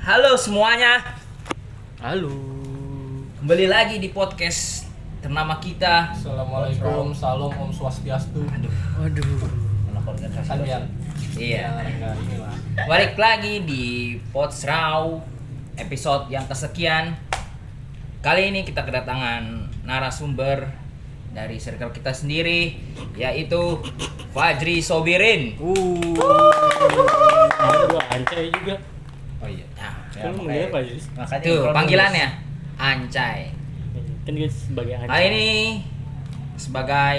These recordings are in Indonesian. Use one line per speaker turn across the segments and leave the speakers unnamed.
Halo semuanya,
Halo.
kembali lagi di podcast ternama kita.
Assalamualaikum, salam Om Swastiastu.
Aduh,
Waduh.
anak organisasi.
Kalian.
Iya.
Nah, inilah.
Balik lagi di Potsraw episode yang kesekian. Kali ini kita kedatangan narasumber dari circle kita sendiri yaitu Fajri Sobirin.
Nama gua Ancai juga.
Oh iya. Nah,
Kan lu manggilnya Pak Yus.
Makanya
itu
diproduce.
panggilannya Ancai.
Kan dia sebagai Ancai.
Nah ini sebagai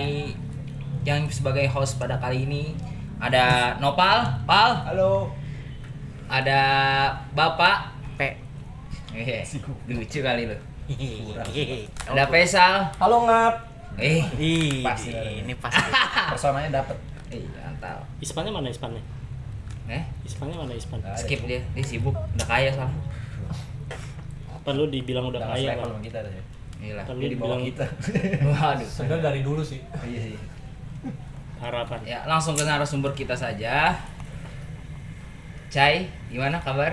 yang sebagai host pada kali ini ada Nopal, Pal,
Halo.
ada Bapak,
P.
Hehe, lucu kali lu. Ada Faisal,
Halo ngap.
eh,
Ih,
Pasti.
ini pasti.
Personanya dapat.
eh, mantap.
Ispannya mana Ispannya?
Eh,
Ispannya mana Ispan?
skip dia, dia sibuk, udah kaya soalnya.
Perlu dibilang udah
Udah
kaya
level
kan?
sama kita tadi.
ya. Gila.
Perlu
Dia di bawah
dibilang gitu.
kita.
Waduh.
Sebenarnya dari dulu sih.
Iya sih.
harapan.
Ya, langsung ke narasumber kita saja. Cai, gimana kabar?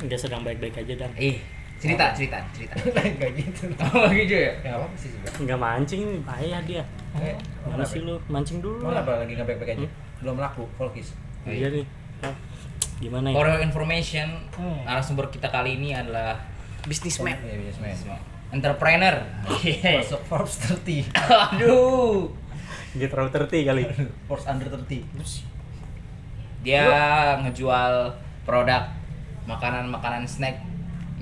Dia sedang baik-baik aja dan
Ih, Eh, cerita, cerita, cerita.
Enggak gitu.
Oh, gitu ya?
Ya enggak apa-apa sih juga.
nggak mancing nih, bahaya dia.
Eh,
Mana sih lu? Mancing dulu. Hmm?
Mau apa lagi enggak baik-baik aja? Belum laku Volkis.
Iya nih. Ah, Gimana
For
ya?
your information,
Hmm.
narasumber kita kali ini adalah
Bisnismen.
Iya, businessman.
entrepreneur. Masuk.
Masuk Forbes 30.
Aduh.
Dia terlalu terti kali.
Forbes under 30.
Dia ngejual produk makanan-makanan snack.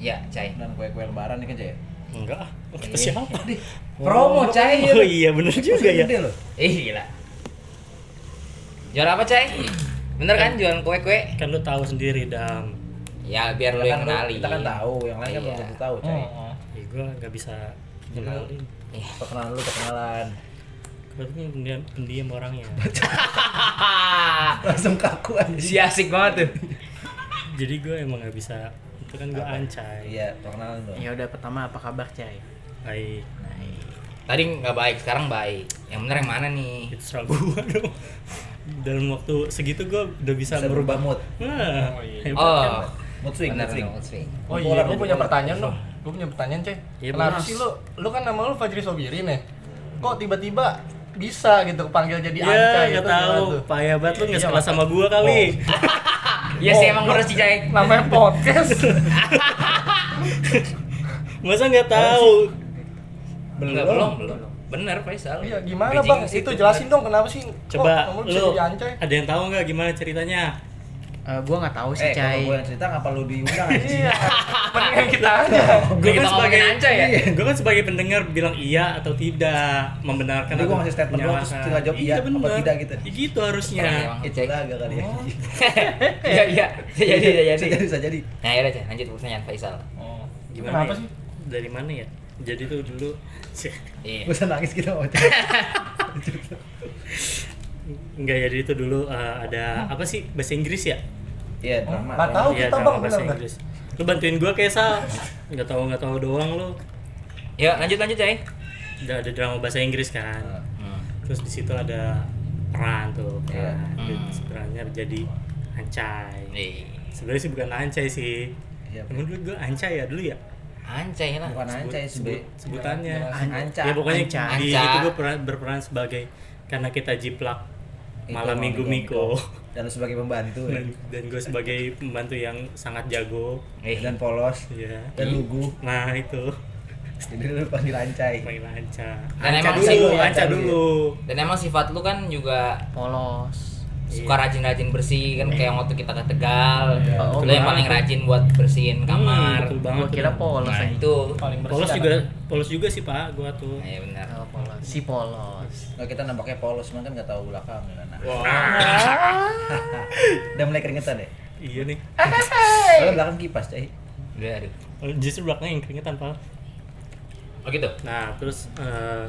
Ya, Cai.
Dan kue-kue lebaran nih kan, Jay.
Enggak. ah.
Iya.
Kata siapa?
Promo, Cai.
Oh iya bener juga ya.
Gede loh.
Ih, gila. Jual apa, Cai? Bener kan jualan kue-kue?
Kan lu tahu sendiri dam.
Ya, biar
Kita
lu yang
kan-
kenali.
Kita kan tahu, yang lain kan belum
Iya.
tentu tahu, Jay.
Ya gua nggak bisa kenalin.
Iya.
Perkenalan lu, perkenalan.
Kebetulan pendiam, pendiam orangnya.
Langsung kaku aja.
si asik banget tuh.
Jadi gue emang nggak bisa. Itu kan gue ancai.
Iya, perkenalan lu.
Ya udah pertama apa kabar Cai?
Baik.
Tadi nggak baik, sekarang baik. Yang bener yang mana nih?
Itu soal gue dong. Dalam waktu segitu gue udah bisa,
Bisa berubah mood.
Nah, hebat kan?
Oh,
Iya, Mood swing,
bener,
mood swing.
mood swing.
Oh
Bola
iya, gue
jadi
punya
bola.
pertanyaan dong. Gue punya pertanyaan, Cek.
Iya,
Kenapa
benar.
sih lu? Lu kan nama lu Fajri Sobiri nih. Kok tiba-tiba bisa gitu kepanggil jadi Anca
Ya,
gitu?
nggak tahu.
gimana tuh?
Payah banget lu nggak
Iya,
sekolah sama gue kali.
Iya sih emang harus sih, Cai.
Namanya podcast.
Masa nggak tahu?
Belum, belum, belum. Bener Faisal.
Iya, gimana
Bridging
Bang?
ke situ,
Itu jelasin
bener.
dong kenapa sih
Coba
Oh,
kok kamu bisa
lu
jadi Anca? ya?
ada yang tahu nggak gimana ceritanya?
Eh gua nggak tahu sih
Eh, kalau
Cai.
gue yang cerita nggak perlu diundang anjing.
Iya. Mendingan kita aja.
Gue
kan
kita ngomongin Anca ya.
gue kan sebagai pendengar bilang iya atau tidak, membenarkan.
Jadi gua
atau
ngasih statement doang, terus
menyalahkan.
kita jawab iya apa
bener.
tidak gitu.
Ya, gitu harusnya.
Keren emang.
Itu
Cek.
agak kali ya.
Iya iya. Bisa Jadi bisa
Bisa
jadi.
jadi, bisa jadi.
Nah, ya udah Cai. lanjut pertanyaan Faisal.
Gimana
Kenapa
ya?
sih?
Dari mana ya? Jadi tuh dulu
Iya.
Gue nangis gitu, kita mau
Enggak jadi itu dulu eh, ada apa sih bahasa Inggris ya?
Iya, drama.
Nggak
drama.
tahu kita,
drama
Bang,
bahasa
bener nggak?
Inggris. Lu bantuin gua kayak Sal. Enggak tahu enggak tahu doang lu.
Yuk, lanjut lanjut, Cai.
Udah ada drama bahasa Inggris kan.
Hmm.
Terus di situ ada peran tuh.
Iya.
Peran.
Hmm.
Terus Perannya jadi ancai.
Nih.
Sebenarnya sih bukan ancai sih.
Iya.
Emang dulu gua ancai ya dulu ya.
Anjay lah.
Bukan
Sebut-
anca ya, sebe.
sebut- sebutannya.
Anca.
Ya pokoknya
Ancai.
di
Ancai.
itu gua peran- berperan sebagai karena kita jiplak
Itu
malam
Malam
minggu
Minggu
miko.
Dan lu sebagai pembantu ya.
dan, dan gue sebagai pembantu yang sangat jago
Eh,
Dan polos.
ya
Dan lugu.
nah itu
Jadi lu panggil ancai.
main lancar
Dan
Lancar
emang
dulu
sih-
lancar dulu
dan emang sifat lu kan juga
Polos.
suka
Iya.
rajin-rajin bersih kan kayak waktu kita ke Tegal. Lu
Oh,
yang
betul.
paling rajin buat bersihin kamar.
betul banget
Gua
tuh.
kira Hmm, polos
Nah,
aja.
itu.
Paling bersih
polos
kan?
juga polos juga sih pak gue tuh
Iya benar.
Oh, polos. Si polos.
Nah, kita nampaknya polos, cuman kan nggak tahu belakang gimana.
Iya.
Udah mulai keringetan deh.
iya nih
Kalau belakang kipas, Cai.
Udah aduh.
justru belakangnya yang keringetan pak
Oh gitu.
nah terus eh,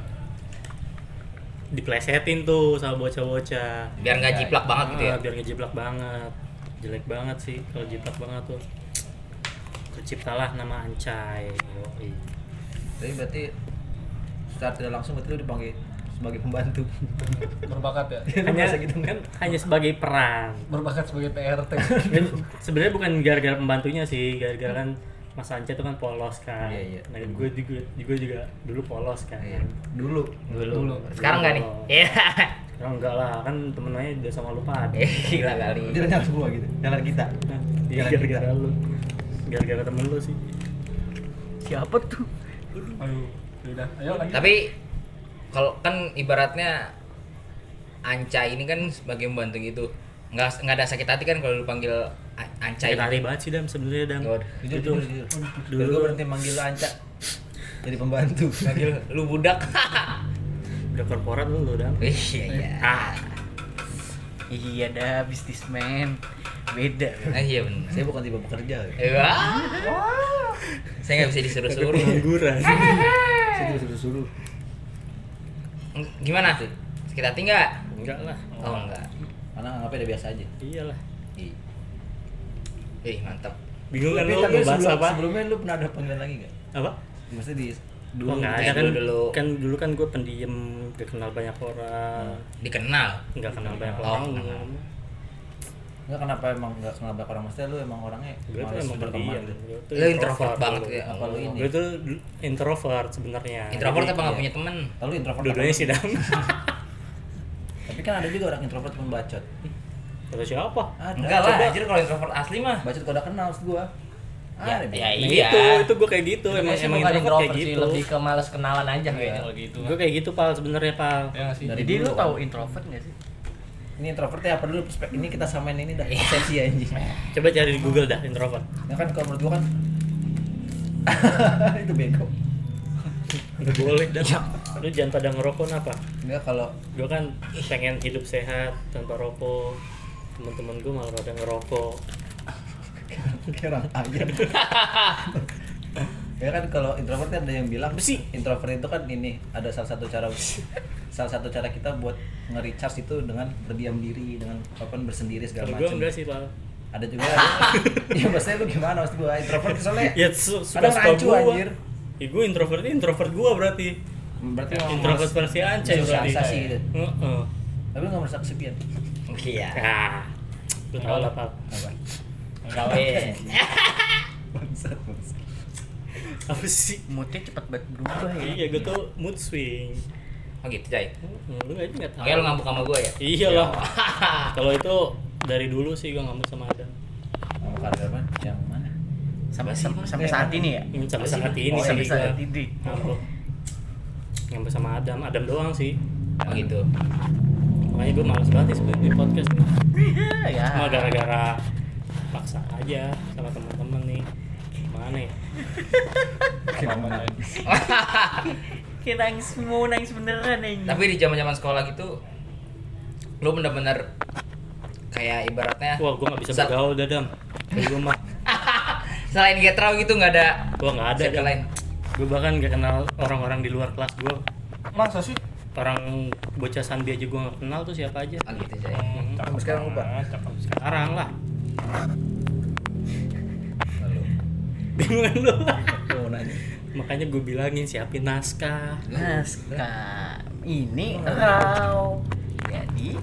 diplesetin tuh sama bocah-bocah
Biar nggak jiplak banget gitu ya.
Ah, biar ngejiplak banget jelek banget sih kalau jiplak banget tuh terciptalah nama Ancai Yoi.
Tapi berarti secara tidak langsung berarti lu dipanggil sebagai pembantu.
berbakat ya
hanya
Masa gitu kan?
hanya sebagai peran
berbakat sebagai PRT
Dan sebenarnya bukan gara-gara pembantunya sih gara-gara kan Mas Anca tuh kan polos kan
Iya, iya.
nah gue juga gue juga dulu polos kan
Iya. Dulu.
dulu
Ah,
Sekarang nggak nih? Iya.
sekarang enggak lah kan temennya udah sama lupa ada
Eh, Gila kali.
Dia nyala semua gitu. Nyala kita.
Nah, iya,
Nyala kita.
gara-gara lu gara-gara temen lu sih
Siapa tuh?
aduh udah ayo lagi
Tapi kalau kan ibaratnya Anca ini kan sebagai pembantu gitu. Nggak nggak ada sakit hati kan kalau lu panggil A- Anca
sakit hati
ini.
banget sih dam sebenarnya dam
Gawat.
Jujur, jujur, jujur. Gitu. Dulu kan- gue iya. berhenti manggil lu Anca. Jadi pembantu.
Panggil lu budak.
udah korporat lu lu, dam
Iya iya.
ah
Iya dah, bisnismen. Beda.
Ah, iya benar.
Saya bukan tipe pekerja. ya.
Saya nggak bisa disuruh-suruh.
pengangguran
Saya tipe suruh-suruh.
Gimana? Sakit hati nggak?
enggak lah
Oh enggak.
Karena anggapnya udah biasa aja.
iyalah
Iya.
Ih, mantap.
bingung kan
Tapi,
lu
tapi
mau bahas
sebelum,
apa
sebelumnya lu pernah ada panggilan lagi nggak?
apa
Maksudnya di
dulu
dulu
nggak
eh,
ada kan
dulu-dulu.
kan dulu kan gue pendiam gak kenal banyak orang
Dikenal.
nggak kenal banyak
Oh,
orang
Hmm. kenal.
Enggak kenapa emang enggak kenal banyak orang mestinya lu emang orangnya
gue tuh
males
emang
berteman
pendiam
gitu.
Gua tuh
Lu introvert banget
dulu.
ya.
Apa lu ini?
gue tuh introvert sebenarnya
Introvert
Jadi,
apa nggak punya temen?
Lalu introvert.
dua-duanya sih dam
Tapi kan ada juga orang introvert pun bacot.
kata siapa
Ada.
Enggak lah,
Coba.
anjir kalau introvert asli mah.
Bacot kau udah kenal maksud gua.
Ya,
Ada,
ya
Bang.
Nah,
iya.
itu itu gue kayak gitu
Itu
emang
sih
emang
bukan
introvert kayak
introvert sih,
gitu
lebih ke males kenalan aja kayaknya kalau gitu
gue kayak gitu pal sebenarnya pal
ya nggak sih
Dari
Jadi lu
dulu, kan.
tahu introvert gak sih?
Ini introvert ya apa dulu perspek ini kita samain ini dah
Iya.
persepsi anjing.
coba cari di Google dah introvert
Ya kan kalau menurut gua kan itu bego.
udah boleh dah lu jangan pada ngerokok apa
Enggak kalau
gue kan pengen hidup sehat tanpa rokok teman-teman gue malah pada ngerokok
kira aja. ya kan kalau introvert kan ada yang bilang
Besi.
introvert itu kan ini ada salah satu cara salah satu cara kita buat nge-recharge itu dengan berdiam diri dengan kapan bersendiri segala
kalau gue
macam
enggak sih pal
ada juga ya maksudnya lu gimana maksud gua introvert soalnya
ya su suka
Padahal
suka
rancu,
gue
anjir.
ya gue introvert introvert gue berarti Ya,
berarti memang
introvert
harus
versi Ancai berarti
sosialisasi gitu
Heeh.
tapi lu nggak merasa kesepian
Iya.
ah lu tau lah pal
apa
Enggak weh.
bangsat bangsat.
apa sih
Moodnya cepet banget berubah ya.
iya gue tuh mood swing
Oh gitu, Jay.
Heeh, lu aja nggak tahu
Oke, lu ngambek sama gue ya?
iyalah kalau itu dari dulu sih gue ngambek sama Adam
sama karir apa yang mana
Sampai
Apa sih,
sampai
Bang?
sampai saat ini ya.
Hmm, sampai saat ini
Oh,
sih gue
sampai saat ini.
ngambek ngambek sama Adam Adam doang sih
Oh gitu.
makanya gue males banget sih sebenarnya di podcast nih
Ya.
cuma gara-gara paksa aja sama teman-teman nih mana ya
Kayak nangis mau nangis beneran anjing.
Tapi di zaman-zaman sekolah gitu lu bener-bener kayak ibaratnya
wah gue nggak bisa
Sal-
bergaul dadam gue mah
selain getrau gitu nggak ada
gue nggak ada kan?
circle lain.
gue bahkan gak kenal orang-orang di luar kelas gue
masa sih
orang bocah sandi aja gue gak kenal tuh siapa aja
Oh gitu, Jay.
Sampai sekarang lupa.
Ah, sekarang lah
lalu
bingung kan lu
lu mau nanya
makanya gue bilangin siapin naskah
Naskah Nah, ini raw. Jadi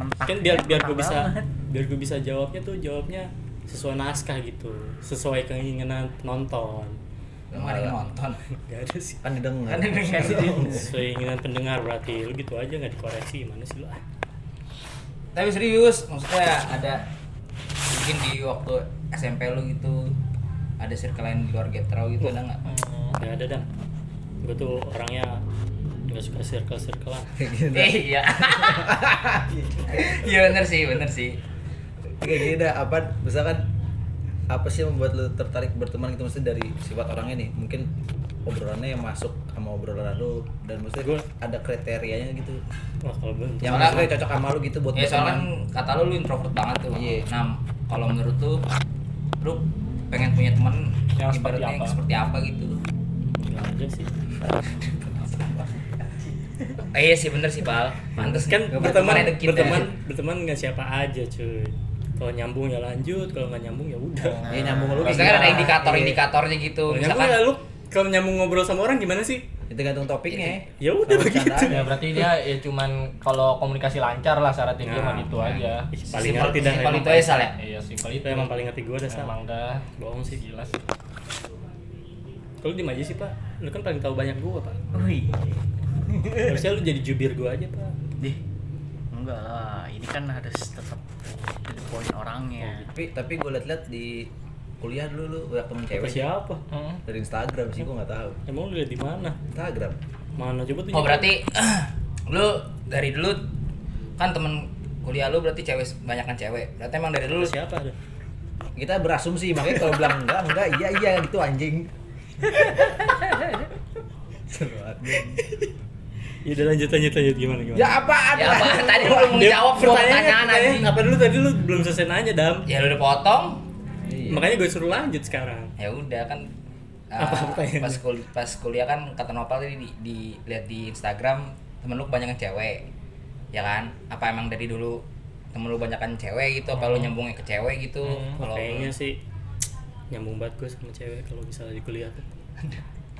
mentak.
kan
ya,
biar biar gue
mentah
bisa
banget.
biar gue bisa jawabnya tuh jawabnya sesuai naskah gitu sesuai keinginan penonton
Lu nggak ada yang nonton.
gak ada sih
kan didengar
Kan dengar.
sesuai keinginan pendengar berarti lu gitu aja nggak dikoreksi mana sih lu ah
Tapi serius, maksudnya ada mungkin di waktu SMP lu gitu ada circle lain di luar getrau gitu ada nggak?
Hmm.
nggak ada dan gue tuh orangnya nggak suka circle circlean
kayak gini dah.
Eh, iya. Iya bener sih, bener sih.
kayak gini dah apa misalkan apa sih yang membuat lu tertarik berteman gitu maksudnya dari sifat orangnya nih mungkin obrolannya yang masuk sama obrolan lu dan maksudnya
Gua-
ada kriterianya gitu
wah kalau belum
yang
Soalnya-
maksudnya cocok sama lu gitu buat
Ya soalnya kan
berteman.
kata lu lu introvert banget tuh.
Iya.
Nah, kalau menurut lu lu pengen punya teman
Yang seperti
ibaratnya yang
apa?
seperti apa gitu.
nggak ada sih
Eh, iya sih bener sih, Pal. Pantes
kan
nih, ya.
berteman
ada kita.
berteman berteman nggak siapa aja cuy kalau nyambung ya lanjut kalau nggak nyambung ya udah
ya nyambung lu
Maksudnya kan ada
gimana? Iya.
indikator-indikatornya gitu. Oh.
kalau nyambung
Misalkan
ya lu kalau nyambung ngobrol sama orang gimana sih
Itu gantung
Iya
topiknya.
Ya udah
Sama
begitu.
bercandaannya.
Ya berarti dia ya cuman kalau komunikasi lancar lah syaratnya dia mah
Nah,
gitu aja.
Ih, paling
Simpel-
ngerti dah
simpel
emang.
itu aja ya. salah.
Iya simpel
Itu
itu.
emang paling ngerti gue dah sama.
Emang dah
Bohong sih.
gila sih.
Kalau di aja sih pak, lu kan paling tahu banyak gue pak.
Wih.
Harusnya lu jadi jubir gue aja pak.
Dih. Enggak lah, ini kan harus tetap to the point orangnya.
Tapi tapi gue liat-liat di kuliah dulu lu banyak temen
Ya,
Kata
cewek
siapa?
Hmm.
dari Instagram sih gue nggak tahu.
Emang lu lihat di mana?
Instagram.
Mana coba tuh?
Oh berarti lu dari dulu kan temen kuliah lu berarti cewek banyak kan cewek. Berarti emang dari dulu
Kata siapa ada?
Kita berasumsi makanya kalau bilang enggak enggak iya iya gitu anjing. Seru banget.
Ya udah lanjut lanjut lanjut gimana gimana?
ya apaan?
Ya apa tadi lu belum menjawab semua pertanyaan anjing.
Apa ya? dulu tadi lu belum selesai nanya dam?
Ya lu udah potong.
Iya.
Makanya gue suruh lanjut sekarang.
Ya udah kan uh,
Apa pertanyaannya?
pas kuliah pas kuliah kan kata Nopal tadi di, di lihat di Instagram temen lu kebanyakan cewek. Ya kan? Apa emang dari dulu temen lu kebanyakan cewek gitu apa lu nyambungnya ke cewek gitu?
Oh,
Kalau
Kayaknya sih nyambung banget gue sama cewek kalau misalnya di kuliah tuh.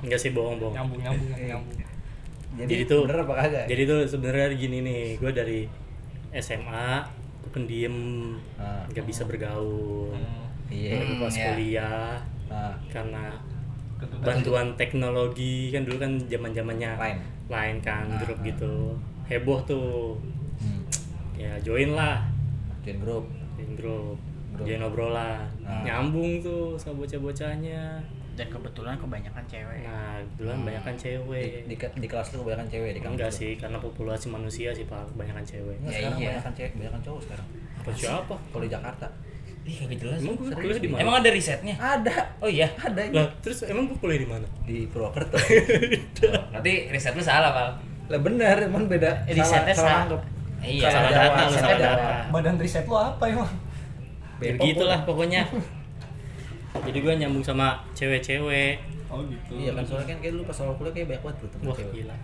Enggak sih bohong bohong.
Nyambung nyambung nyambung.
Jadi,
Jadi
itu
tuh-
bener apa kagak?
Jadi tuh sebenarnya gini nih, gue dari SMA gue pendiam,
Ah.
nggak bisa bergaul.
Hmm.
iya.
Tapi
Hmm,
pas
ya.
kuliah
Nah,
karena bantuan teknologi kan dulu kan zaman zamannya
Line.
lain kan
Ah,
grup gitu heboh tuh
hmm.
ya join lah
join grup.
join grup
Grup.
join obrolan
Ah.
nyambung tuh sama bocah-bocahnya
Dan kebetulan kebanyakan cewek.
nah kebetulan banyak kan
Di,
cewek
di, ke- di kelas lu kebanyakan cewek di kampus.
enggak
lu. Nah.
sih karena populasi manusia sih pak kebanyakan cewek
Enggak,
Ya,
sekarang
iya.
kebanyakan cewek, kebanyakan cowok sekarang.
apa siapa
Kalau di Jakarta.
Ih, kagak
Nah,
jelas.
emang gue kuliah di mana
Emang ada risetnya?
Ada.
Oh iya.
Ada
lah terus emang gue kuliah di mana
di Purwokerto.
Berarti riset lu salah, Pal.
lah bener, emang beda.
Eh, risetnya salah.
anggap.
Iya.
salah
Salah Jawa,
data lu
salah
salah
Jawa.
data
Badan riset lu apa emang?
Ya
Bepom
gitulah pokoknya jadi gue nyambung sama cewek-cewek
Oh gitu.
pun. Iya kan soalnya kan kayak lu pas awal kuliah kayak banyak banget lu temen
wah iya.
cewek.
gila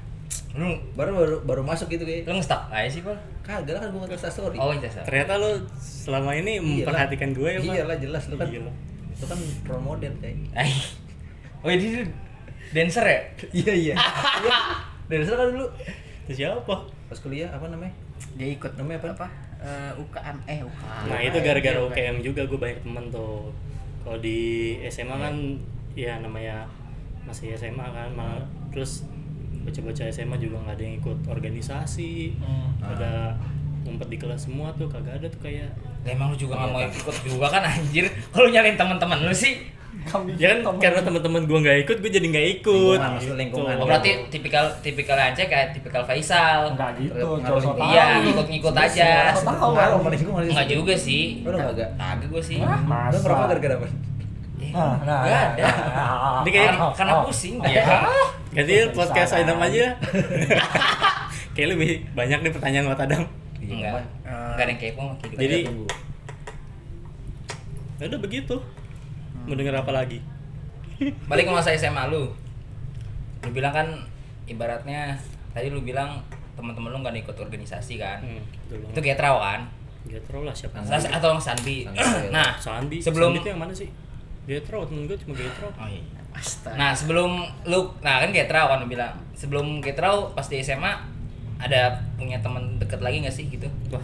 Lu
Baru baru baru masuk gitu kayak.
lu ngestak aja sih, Pal.
Kagak lah kan gua ngerasa story.
Oh, iya, salah.
Ternyata lo selama ini
Iyalah.
memperhatikan gue ya, Pak.
Iyalah jelas lu kan.
Gila.
Lu kan role model kayak.
Ay. Oh, jadi dia dancer ya?
Iya iya. Dari sana kan dulu
Itu siapa?
pas kuliah apa namanya?
Dia ikut
Namanya apa?
Eh, UKM eh UKM.
Nah, itu gara-gara UKM juga gue banyak temen tuh. Kalau di SMA kan ya namanya masih SMA kan, malah terus bocah-bocah SMA juga nggak ada yang ikut organisasi.
Hmm.
Ada ngumpet di kelas semua tuh kagak ada tuh kayak
Lah emang lu juga nggak mau ikut juga kan anjir. Kalau nyalin teman-teman lu sih.
Kami
ya
Iya
kan karena teman-teman gue nggak ikut gue jadi nggak ikut
Iya,
Gitu.
Lingkungan, maksud lingkungan.
Oh, berarti tipikal tipikal aja kayak tipikal Faisal.
enggak gitu,
Terlihat
cowok
pengaruh.
tahu.
Iya,
gitu.
ikut-ikut aja.
Semua orang tahu.
Pengaruh paling gua masih.
Oh, Enggak juga sih.
Lu nggak agak?
Kagak gua sih.
Hah? Masa?
Lu ngerokok gara-gara apa?
Eh,
Nah, nah,
nggak ada.
nah, nah, nah.
Dia kayak-
Karena- Karena pusing.
Ya.
Ya.
Ganti yuk podcast Adam aja. Kayak lebih banyak nih pertanyaan buat Adam.
Enggak. Enggak ada yang kepo sama kehidupan.
Jadi-
Tunggu.
Ya udah begitu. Mau denger apa lagi?
balik ke masa SMA lu lu bilang kan ibaratnya tadi lu bilang teman-teman lu nggak ada ikut organisasi kan
Hmm, betul
itu
banget.
Getrau kan
Getro lah siapa?
Salah se- atau Sandi
Sandi.
nah
Sandi.
sebelum
Sandi itu yang mana sih? Getro, temen gue cuma Getro.
Oh, iya.
Astaga.
nah sebelum lu nah kan Getrau kan lu bilang sebelum Getrau pas di SMA ada punya teman deket lagi nggak sih gitu
Wah.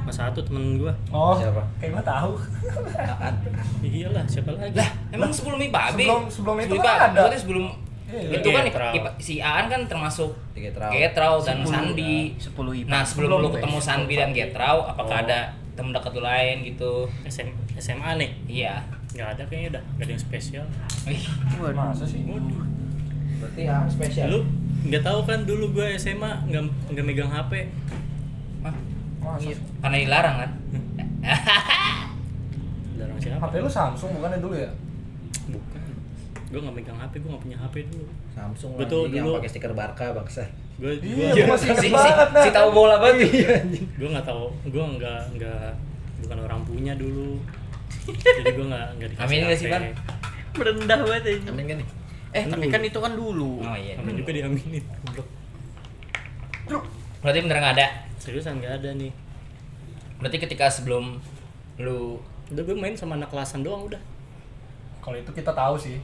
Mas satu temen gue.
Oh,
Siapa?
Kayak gua tahu.
Apaan?
Iyalah, iya siapa lagi?
lah emang sebelum IPA Abi?
Sebelum- sebelum itu
IPA,
kan ada.
maksudnya sebelum
Iya,
itu kan
Getrau.
IPA, si Aan kan termasuk
Getrau.
Getrau dan
Sebelum,
Sandi
10 IPA.
Nah sebelum
Belum,
lu ketemu
guys.
Sanbi dan Getrau, apakah
Oh.
ada temen dekat lu lain gitu?
SM, SMA nih.
Iya.
Gak ada kayaknya udah. Gak ada yang spesial.
Wih,
Waduh.
Masa sih?
Berarti ya spesial.
Lu nggak tahu kan dulu gue SMA nggak nggak megang HP.
Hah?
Masa
Iya.
sih?
karena dilarang kan?
Darang siapa?
HP lu Samsung bukannya dulu ya?
Bukan. Gue nggak megang HP, gue nggak punya HP dulu.
Samsung
Gua tuh
lagi yang
dulu-
pakai stiker Barca bangsa.
Gue
Iya, gua masih
si,
inget
si,
banget.
si
Nah.
tahu bola banget. Iya.
gue nggak tahu gue nggak nggak bukan orang punya dulu jadi gue nggak nggak dikasih
Aminin nggak sih,
HP.
Bar?
Merendah banget ini.
Amin kan nih?
Eh, tapi kan itu kan dulu.
Oh iya.
Amin juga diaminin goblok.
Berarti bener nggak ada.
seriusan nggak ada nih
Berarti ketika sebelum lu
udah gue main sama anak kelasan doang udah
Kalau itu kita tahu sih.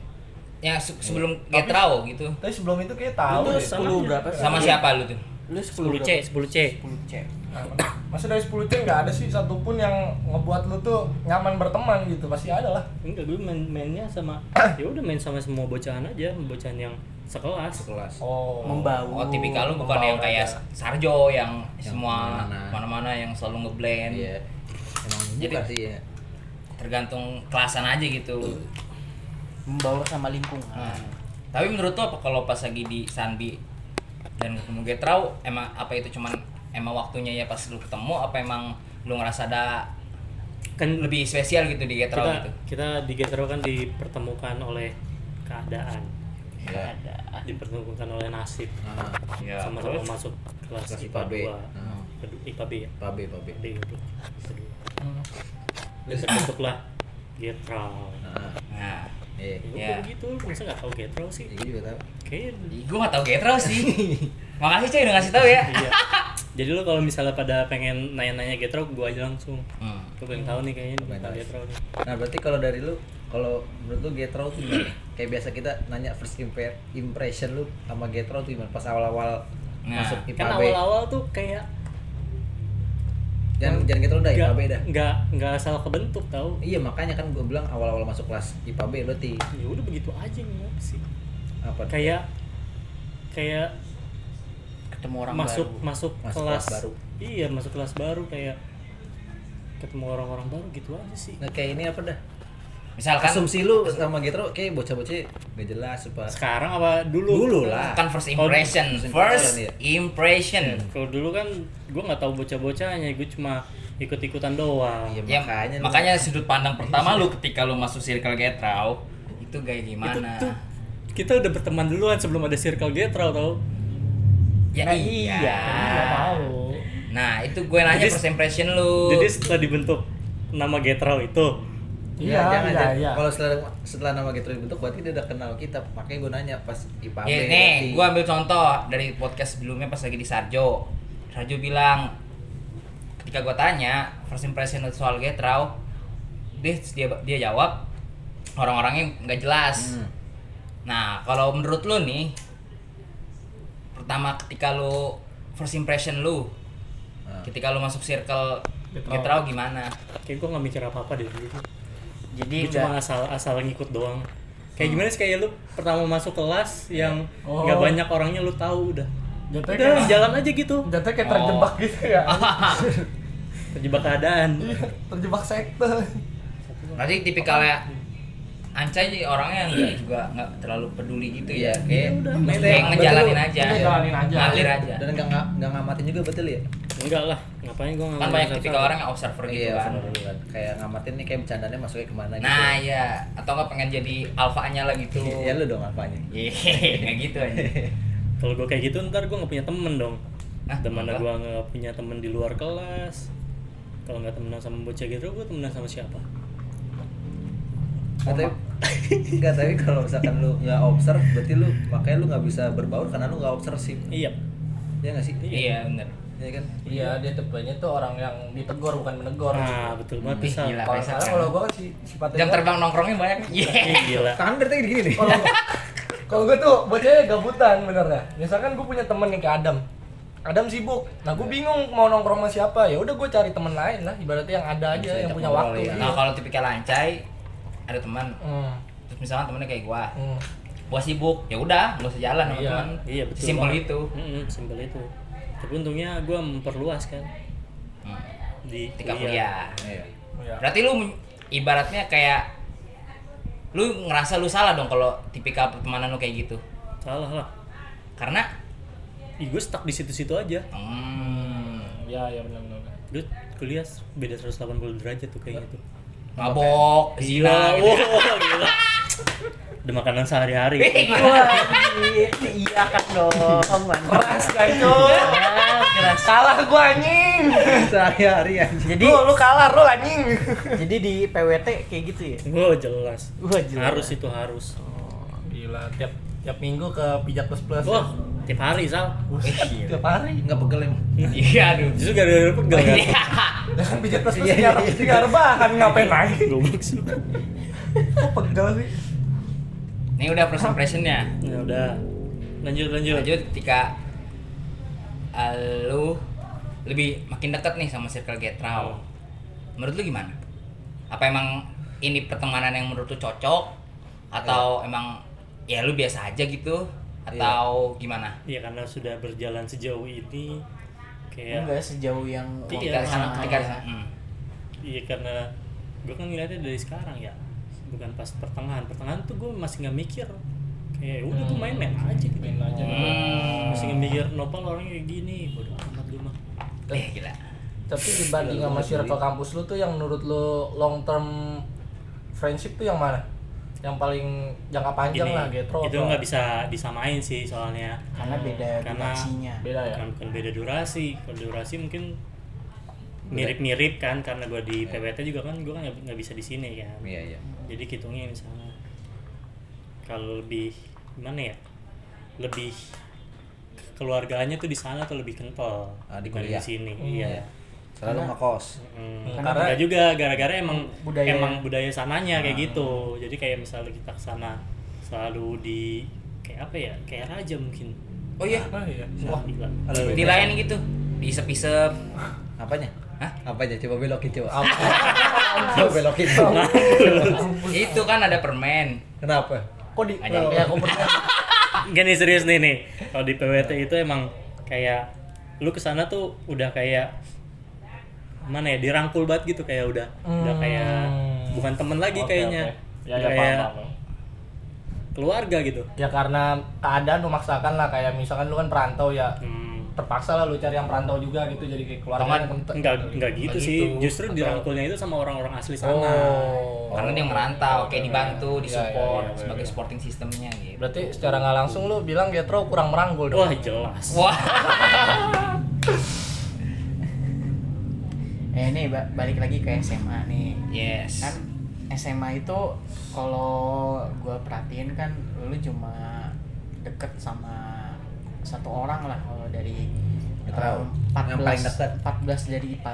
ya se- sebelum getrao gitu
Tapi sebelum itu kayak tahu
Lu
deh.
sama berapa sih?
sama siapa lu tuh
Lu
10 C 10 C
10 C.
Masa Nah, dari 10 tim nggak ada sih satupun yang ngebuat lu tuh nyaman berteman gitu. Pasti ada lah.
enggak gue main mainnya sama ya udah main sama semua bocahan aja bocahan yang sekelas
kelas
Oh.
Membau.
Oh, tipikal lu bukan
Membawa
yang kayak
aja.
Sarjo yang semua
kemana-mana.
mana-mana yang selalu ngeblend.
iya emang
Jadi-
bukan sih ya
Tergantung kelasan aja gitu.
membaur sama lingkungan
Nah, tapi menurut lo apa kalau pas lagi di Sanbi dan ketemu Getrau emang apa itu cuman emang waktunya ya pas lu ketemu apa emang lu ngerasa ada
kan
lebih spesial gitu di Getrau
kita
gitu.
kita di Getro kan dipertemukan oleh keadaan
Iya.
dipertemukan oleh nasib
Ah,
Ya,
sama-sama masuk kelas IPA
kelas IPA B.
2
Ah.
Kedua- IPA B ya
Pabe, pabe.
D itu kedua dan terbentuklah Getro
Nah,
Nah,
iya.
Iya.
ya gitu masa nggak tahu Getro sih
Iya, gue juga tahu.
kayaknya
gue gak tau Getrau sih. Makasih Cai udah ngasih tahu ya.
iya jadi lo kalau misalnya pada pengen nanya-nanya Getro gue aja langsung
Hmm.
Gue pengen tahu nih kayaknya
Pengen
tentang
tahu.
Getro nih.
Nah, berarti kalau dari lu, kalau menurut lu Getro tuh gimana? Kayak biasa kita nanya first impa- impression lu sama Getro tuh gimana pas awal-awal
Nah,
masuk IPA
Kan
B.
awal-awal tuh kayak
Jangan jangan Getro dah
nggak
IPA B dah.
nggak nggak asal kebentuk tau.
Iya, makanya kan gue bilang awal-awal masuk kelas IPA B berarti
Ya udah begitu aja nih apa sih.
apa?
Kayak kayak
ketemu orang
masuk
baru
masuk,
Masuk
kelas,
kelas baru.
Iya, masuk kelas baru kayak ketemu orang-orang baru gitu aja sih.
Nah, kayak ini apa dah?
Misalkan
Asumsi lu sama Getro kayak bocah-bocah gak jelas apa?
Sekarang apa dulu?
Dulu lah.
kan first impression,
First
first
impression,
impression.
Kalau dulu kan gue nggak tahu bocah-bocahnya, gue cuma ikut-ikutan doang.
Iya,
Ya,
makanya
makanya,
lu-
sudut pandang pertama lu ketika lu masuk circle Getrau itu kayak
Itu
gimana?
tuh kita udah berteman duluan sebelum ada circle getro tau.
Nah,
Ya
Nah,
iya.
Kan Tahu.
Nah, itu gue nanya
Jadi-
first impression lu.
Jadi setelah dibentuk nama Getro itu
Iya,
Nggak, jangan,
iya,
jangan.
iya.
Kalau setelah setelah nama Getro dibentuk berarti dia udah kenal kita. Makanya gue nanya pas IPA B.
Ya,
berarti.
nih, gue ambil contoh dari podcast sebelumnya pas lagi di Sarjo. Sarjo bilang ketika gue tanya first impression lu soal Getrau, dia dia, dia jawab orang-orangnya nggak jelas.
Hmm.
Nah, kalau menurut lu nih pertama ketika lu first impression lu
Nah.
ketika lu masuk circle Getrau gimana?
kayak gue nggak mikir apa apa deh dulu.
jadi
Gue
udah
cuma asal asal ngikut doang. Kayak gimana sih kayak lu pertama masuk kelas yang
Oh.
nggak banyak orangnya lu tahu udah.
Jatuhnya
Udah
kayak-
jalan aja gitu.
Jatuhnya kayak
Oh.
terjebak gitu ya.
Terjebak keadaan.
terjebak sekte.
Berarti tipikalnya Anca jadi orangnya nggak juga nggak terlalu peduli gitu ya.
Iya,
Kayak,
udah.
kayak ngejalanin aja.
Ngejalanin aja.
Ngalir aja. Kan
Dan nggak nggak- nggak ngamatin juga betul ya?
Enggak lah, ngapain gue
Kan banyak tipikal orang yang observer gitu
Iya,
kan.
bener bener. Kayak ngamatin nih kayak bercandanya masuknya kemana gitu.
Nah, iya. Atau nggak pengen jadi alfaannya lah gitu.
ya lu dong apanya?
Iya, nggak gitu aja.
Kalau gue kayak gitu ntar gue nggak punya temen dong.
Hah,
Dimana
Ah, kenapa?
gue nggak punya temen di luar kelas. Kalau nggak temenan sama bocah gitu, gue temenan sama siapa?
Nggak, tapi nggak tapi kalau misalkan lu nggak observe, berarti lu makanya lu nggak bisa berbaur karena lu nggak observe sih.
Iya.
Iya nggak sih?
Iya, bener.
Iya kan?
Iya, dia tipenya tuh orang yang ditegur bukan menegur.
Nah, betul
Ih,
banget bisa.
gila.
Kalau
Faisal
sekarang
kan.
kalau gua kan si sifatnya
Jam
gua-
terbang nongkrongnya banyak. Iya.
Gila.
Standar tuh gini nih.
Kalau kalau gue tuh bocahnya gabutan benernya. Misalkan gue punya temen nih kayak Adam. Adam sibuk. Nah gue bingung mau nongkrong sama siapa. Ya udah gue cari temen lain lah. Ibaratnya yang ada aja,
Bisa
yang
ajak
punya
ngobrol,
waktu.
ya.
Nah, kalau tipikal Ancai ada teman.
Hmm.
Terus misalnya temennya kayak gua.
Hmm.
Gua sibuk, ya udah, nggak usah jalan sama
Iya.
teman.
Iya betul.
Simpel
banget.
itu.
Mm-mm, simpel itu. Tapi untungnya gue memperluas kan
Hmm.
di
Ketika kuliah.
Iya.
Ya.
Berarti lu men- ibaratnya kayak lu ngerasa lu salah dong kalau tipikal pertemanan lu kayak gitu.
Salah lah.
Karena
gue stuck di situ-situ aja.
hmm,
Ya ya benar-benar.
Gue kuliah beda 180 derajat tuh kayaknya tuh.
mabok, zina gitu.
Wah, gila. Udah makanan sehari-hari.
iya kan dong mantap
Keras kan cuy.
keras
Kalah gue anjing.
Sehari-hari aja.
jadi
Lu lu kalah lu anjing.
jadi di PWT kayak gitu ya
Wah, jelas.
Wah, jelas.
Harus itu harus.
Gila tiap tiap minggu ke pijat plus ya. plus.
Wah, tiap hari Sal.
Iya.
tiap hari.
Nggak pegel emang.
Iya, aduh.
Justru gara-gara pegel kan.
Iya.
Jangan pijat plus plus
Iya, iya,
tiap
iya.
tiap rebahan ngapain lagi?
Goblok sih. lu.
Kok Pegel sih.
Nih Ini udah first impressionnya.
Ya udah. Lanjut lanjut.
Lanjut ketika uh, lu lebih makin dekat nih sama circle Getrau.
Oh.
Menurut lu gimana? Apa emang ini pertemanan yang menurut lu cocok atau emang ya lu biasa aja gitu atau gimana?
Ya karena sudah berjalan sejauh ini kayak
Enggak sejauh yang
Iya,
Ketika
sama-
ketika
ya.
hmm.
iya karena gue kan ngeliatnya dari sekarang ya. Bukan pas pertengahan. Pertengahan tuh gue masih nggak mikir. Kayak ya udah gue main-main aja gitu.
Main aja.
Hmm.
Masih nggak mikir nopal orangnya kayak gini. Bodoh amat gue mah.
Eh gila.
Tapi dibanding sama circle kampus lu tuh yang menurut lu long term friendship tuh yang mana? Yang paling jangka panjang
Gini,
lah gitu.
gitu,
Getro.
itu nggak bisa disamain sih soalnya.
karena beda
Karena-
durasinya
Beda ya.
Bukan, bukan beda durasi. Kalau durasi mungkin mirip-mirip kan karena gue di PPT juga kan gue kan nggak nggak bisa di sini kan.
Iya iya.
jadi hitungnya misalnya kalau lebih gimana ya lebih keluarganya tuh di sana tuh lebih kental
Ah, di
dibanding
kuliah.
sini iya
Iya. Selalu ngekos.
Hmm.
Karena-
Karena enggak juga gara-gara emang
Budaya.
emang budaya
Ah.
sananya kayak gitu. Jadi kayak misalnya kita ke sana selalu di kayak apa ya? Kayak raja mungkin.
Oh iya,
Oh iya.
Wah,
Hmm.
gila.
dilayani gitu. Diisep-isep.
Apanya?
Hah?
Apanya? Coba belokin coba. coba belokin.
Itu kan ada permen.
Kenapa?
Kok di
Ada.
ya kok bener.
Gak nih Ah, serius nih nih. Kalau di PWT
Ah.
itu emang kayak lu kesana tuh udah kayak mana ya dirangkul banget gitu kayak udah udah kayak bukan temen lagi
Hmm. Oke,
kayaknya
oke. Ya, ya,
Udah
paham,
kayak
paham.
keluarga gitu.
Ya karena keadaan memaksakan lah kayak misalkan lu kan perantau ya
Hmm.
terpaksa lah lu cari yang perantau juga gitu jadi kayak keluarga
Teman.
yang kent-
Enggak enggak gitu,
Nggak
sih.
gitu.
Justru
Atau-
dirangkulnya itu sama orang-orang asli sana.
Oh.
Karena dia merantau, kayak
Iya, iya,
dibantu, disupport
iya, iya,
sebagai
iya.
supporting sistemnya gitu.
Berarti secara nggak langsung lu bilang Getro kurang merangkul dong.
Wah, jelas.
Wah.
eh ini ba- balik lagi ke SMA nih
Yes.
kan SMA itu kalau gua perhatiin kan lu cuma deket sama satu orang lah kalau dari
Betul.
um,
Yang paling deket.
14 dari IPA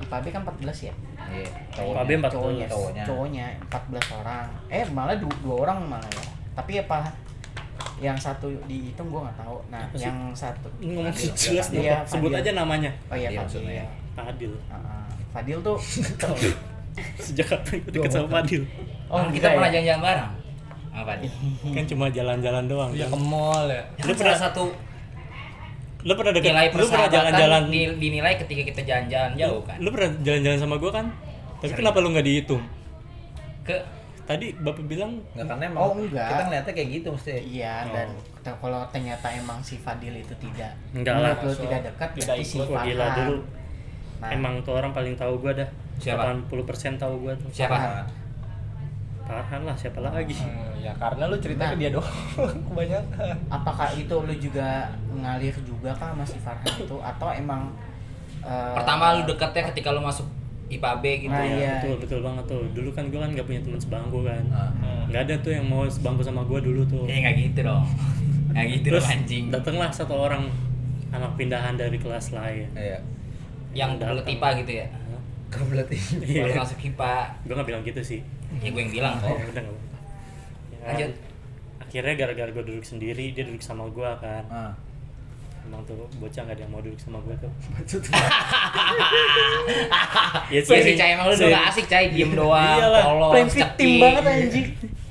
IPAB kan 14 ya
Iya.
IPA B
Cowoknya.
14.
cowoknya,
Cowoknya.
cowoknya 14 orang eh malah du- dua orang malah ya tapi apa yang satu dihitung gua nggak tahu nah
Apa sih?
yang satu
Ngomong jelas
Iya,
dong. ya. Sebut
Fadil.
aja namanya.
oh iya
Iya,
Fadil
maksudnya.
ya.
Fadil.
Heeh. Fadil tuh
Sejak kapan gue deket sama Fadil?
Oh, kita
enggak
pernah
ya?
jalan-jalan bareng. Apa nih?
Kan cuma jalan-jalan doang.
Ya
kan?
ke mall ya.
Itu salah satu
Lu pernah deket,
nilai
lu pernah
persahabatan
jalan-jalan
di- dinilai ketika kita jalan-jalan jauh kan.
Lu pernah jalan-jalan sama gua kan? Tapi kenapa lu nggak dihitung?
Ke
Tadi bapak bilang
Enggak karena emang
Oh, enggak.
kita ngeliatnya kayak gitu mesti.
iya
Oh.
dan te- kalau ternyata emang si Fadil itu tidak
Enggak
menurut
lah.
lu tidak dekat
Tidak
berarti si
ikut.
Wah,
Farhan
gila dulu.
nah,
Emang tuh orang paling tahu gua dah.
Siapa?
80% tahu gua tuh.
Nah,
siapa?
Farhan lah, siapa lagi?
Hmm, ya karena lu cerita
Nah.
ke dia doang kebanyakan.
apakah itu lu juga ngalir juga kah sama si Farhan itu atau emang eh,
Pertama lu dekatnya ketika lu masuk IPA B gitu.
Nah, iya.
betul, betul banget tuh. Dulu kan gua kan nggak punya teman sebangku kan.
Ah.
Nggak ada tuh yang mau sebangku sama gua dulu tuh.
Eh nggak gitu dong. Nggak gitu dong anjing.
datanglah satu orang anak pindahan dari kelas lain.
Iya.
Yang
datang.
kebelet IPA gitu ya.
Kebelet ini.
Iya.
Baru masuk IPA.
Gua nggak bilang gitu sih.
Ya gue yang bilang.
Ya udah nggak apa-apa. Ya,
Lanjut.
Akhirnya gara-gara gua duduk sendiri, dia duduk sama gua kan.
Ah.
Emang tuh bocah gak ada yang mau duduk sama gue tuh.
Ya
Iya
sih Cai emang lu udah nggak asik Cai diem doang.
Iyalah,
Polos,
plain victim
ceking.
banget anjing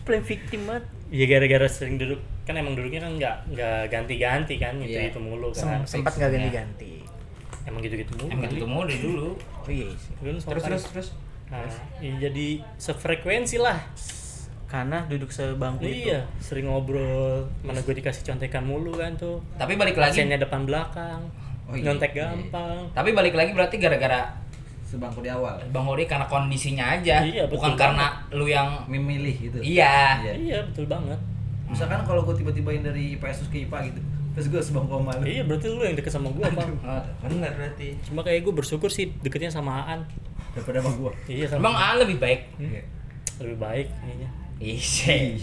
plain victim banget
Ya gara-gara sering duduk kan emang duduknya kan nggak nggak ganti-ganti kan gitu
Iya.
gitu mulu kan.
Sem- Hmm, sempat nggak ganti-ganti
Emang gitu-gitu mulu. kan.
Emang gitu mulu dari dulu.
oh iya sih
Terus
Terus terus terus.
Nah, ya jadi sefrekuensi lah.
karena duduk sebangku itu
Iya, sering ngobrol. Mana gue dikasih contekan mulu kan tuh.
Tapi balik lagi.
ya?
Pasiennya depan belakang.
Oh iya,
nyontek
iya.
gampang.
Tapi balik lagi berarti gara-gara
Sebangku di awal.
Bang Ori karena kondisinya aja,
Iya, betul
bukan
banget.
karena lu yang
Memilih gitu.
iya.
Iya.
Iya, betul banget.
Misalkan kalau gue tiba-tibain dari IPS terus ke IPA gitu. Terus gue sebangku sama lu.
Iya, berarti lu yang deket sama gue, Bang.
Eh,
Bener berarti.
Cuma kayak gue bersyukur sih deketnya sama Aan.
Daripada sama gue.
Iya, sama
Emang A lebih baik.
Iya.
lebih baik kayaknya.
Isi.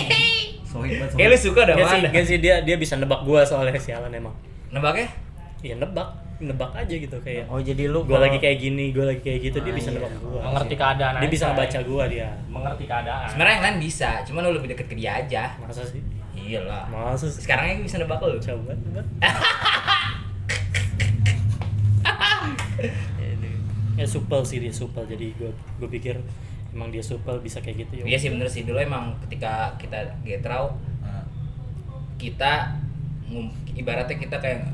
Sohib
eh
banget. sohib.
Iya
lu suka udah
Gak sih,
mana? ya?
gak sih dia dia bisa nebak gua soalnya sialan emang.
Nebaknya?
Iya nebak. nebak aja gitu kayak
Oh, jadi lu
gue
kalau-
lagi kayak gini gue lagi kayak gitu dia
Ah,
bisa
iya.
nebak gue
Mengerti keadaan
dia
aja.
bisa baca gue dia
mengerti keadaan
Sebenarnya yang lain bisa, cuman lu lebih deket ke dia aja.
masa sih
Iyalah.
masa sih
Sekarang yang bisa nebak
Iya.
lu.
coba coba ya supel sih dia supel jadi gue gue pikir emang dia supel bisa kayak gitu
Iya sih bener sih dulu emang ketika kita getrau
Nah,
kita ngum- ibaratnya kita kayak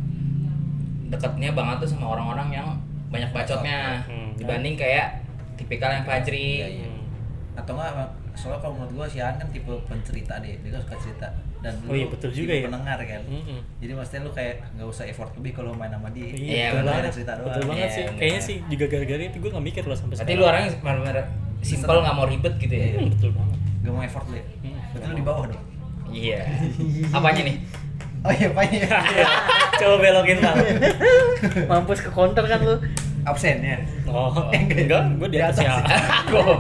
deketnya banget tuh sama orang-orang yang banyak bacotnya
Hmm.
dibanding kayak tipikal yang
iya,
Fajri
iya.
Hmm.
atau enggak emang- soalnya kalau menurut gua si Aan kan tipe pencerita deh dia tuh suka cerita dan lu
Oh iya, betul juga
tipe
ya.
pendengar kan
Mm-mm.
jadi maksudnya lu kayak nggak usah effort lebih kalau main sama dia
Iya,
Lu
betul
benar.
ada
banget.
cerita doang
Betul banget
Iya,
sih.
benar.
Kayaknya sih juga gara-gara itu gue gak mikir loh sampai
berarti lu orangnya bener-bener simple nggak mau ribet gitu ya
Hmm, betul banget.
gak Iya, mau effort lu ya? berarti lu di bawah dong
iya apanya nih
oh iya apa ya
Coba belokin bang.
Mampus ke counter kan lu.
Iya,
absen ya
Oh, enggak, gue di atas ya.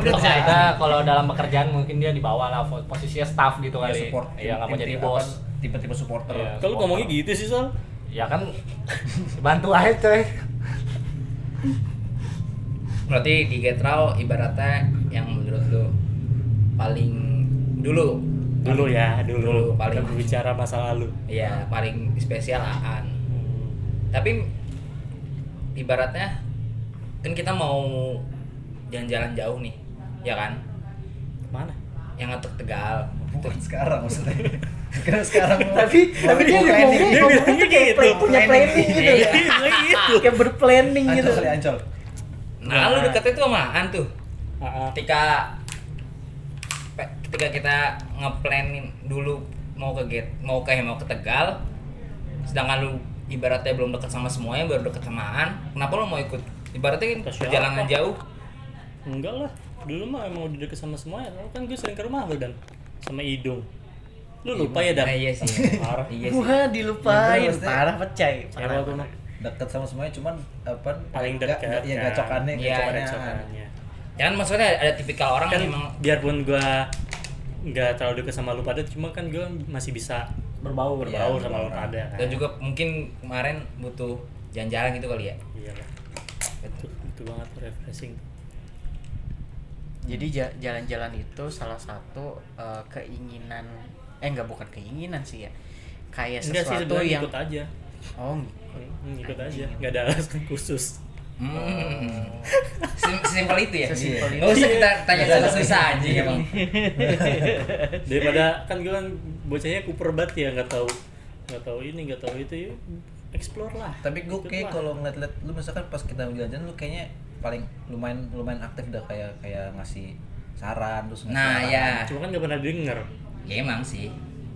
Terus
Iya.
ada kalau dalam pekerjaan mungkin dia di bawah lah posisinya staff gitu
Ya,
kali.
support
Iya nggak mau
Tim-
jadi
apa, kan?
bos.
tipe-tipe supporter
Iya.
Kalau ngomongnya gitu sih Sol.
Ya kan bantu aja coy.
berarti di getrau ibaratnya yang menurut lu paling dulu
Dulu ya,
Dulu,
dulu.
paling.
Kita berbicara masa lalu.
ya paling spesial Aan tapi ibaratnya kan kita mau jalan-jalan jauh nih ya kan
Mana?
yang ngetuk tegal
bukan sekarang maksudnya karena sekarang lu- mau- mau
juga
planning.
dia bilang kayak gitu.
punya planning gitu
Iya.
ya.
gitu.
Kayak berplanning gitu.
ancol kali ancol
Iya,
nah lu deketnya tuh sama Aan tuh
Ah, ah.
ketika pe- ketika kita ngeplanin dulu mau ke get mau ke mau ke tegal sedangkan lu ibaratnya belum dekat sama semuanya baru dekat sama Aan kenapa lu mau ikut ibaratnya kan
Ke siapa?
perjalanan jauh
Enggak lah. Dulu mah emang udah deket sama semuanya. Lalu kan gue sering ke rumah lu dan sama Idung. Lu lupa ya dan?
Nah, iya sih
Parah.
iya sih
Wah, dilupain.
Yang bener,
Iya, Parah pecah.
Cewek gue Iya, mah
deket sama semuanya cuman apa
paling
ga-
dekat.
ga- ya
kan.
gacokannya
Iya,
gacokannya.
gacokannya.
jangan Ya kan, maksudnya ada tipikal orang
kan
yang emang
biarpun gua nggak terlalu dekat sama lu pada cuma kan gua masih bisa
Berbau
berbaur
Iya,
sama lu
berbaur.
pada kan
dan juga mungkin kemarin butuh jalan-jalan gitu kali ya
iya lah itu, itu banget refreshing
Jadi ja- jalan-jalan itu salah satu eh, keinginan eh enggak bukan keinginan sih ya. Kayak
enggak sih
sesuatu
sebenarnya gitu,
yang
ikut aja
oh
Hmm, ikut aja nggak ada alasan khusus
Hmm. Sim- Sesimpel itu ya?
Sesimpel
Nggak usah kita tanya
Iya.
susah-susah aja
Iya,
emang.
daripada kan gua kan bocahnya kuper banget ya nggak tahu nggak tahu ini nggak tahu itu yuk explore lah
tapi gue
Ikut
kayak
lah.
kalau ngeliat-liat lu misalkan pas kita jalan-jalan lu kayaknya paling lumayan lumayan aktif dah kayak kayak ngasih saran terus ngasih
Nah
arahan.
ya,
cuma kan nggak pernah denger
ya emang sih.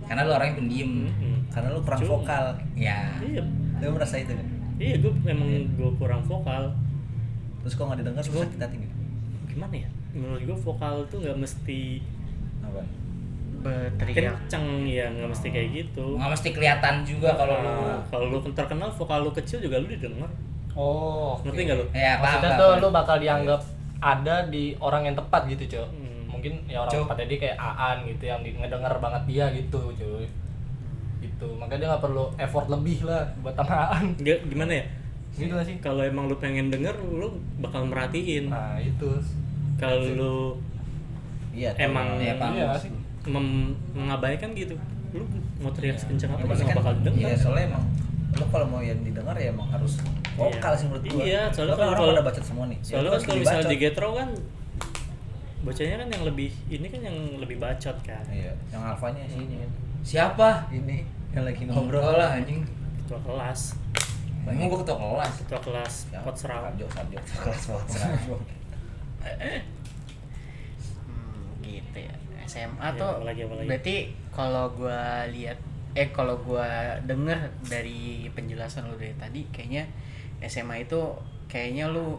Karena lu orangnya pendiam.
Hmm.
karena lu kurang
Cuma-
vokal
Ya.
iya
lu merasa itu kan
iya gua memang gua kurang vokal
terus kok nggak didengar susah kita tinggal
gimana ya menurut gua vokal tuh nggak mesti
apa
berteriak
kenceng ya nggak mesti kayak gitu
Nggak mesti kelihatan juga Oh, kalau lu.
Nah, kalau lu terkenal vokal lu kecil juga lu didengar
Oh. oke.
ngerti nggak lu
Ya paham.
Maksudnya
paham.
tuh lu bakal dianggap ada di orang yang tepat gitu cuy.
Hmm.
Mungkin ya orang
Cuy.
tepatnya dia kayak Aan gitu yang di- ngedenger banget dia gitu cuy. Gitu. Makanya dia nggak perlu effort lebih lah buat sama Aan.
nggak gimana ya
Gitu nggak sih?
kalau emang lu pengen denger lu bakal merhatiin
Nah, itu.
kalau lu
iya tuh.
emang
Iya, paham.
Iya nggak sih.
mem- mengabaikan gitu lu mau teriak sekencang apa
Ya,
lu
maksudnya
nggak
kan
bakal
iya
denger
soalnya emang lu kalau mau yang didengar ya emang harus vokal sih menurut gua
Iya, soalnya kan
Bahkan orang
kalau-
pada bacot semua nih
soalnya
Ya,
kan kalau
lebih
misalnya di
bacot.
getro kan bocahnya kan yang lebih ini kan yang lebih bacot kan
iya yang alfanya sih ini kan
Siapa?
ini yang lagi ngobrol
Ngobrol lah anjing.
ketua kelas
Emang gua ketua kelas.
ketua kelas
Ya,
pot serau
Sarjo, Sarjo. Kelas Potsrau.
Hmm, gitu ya. SMA
Ya,
tuh
apalagi, apalagi.
berarti kalau gua lihat eh kalau gua denger dari penjelasan lu dari tadi kayaknya SMA itu kayaknya lu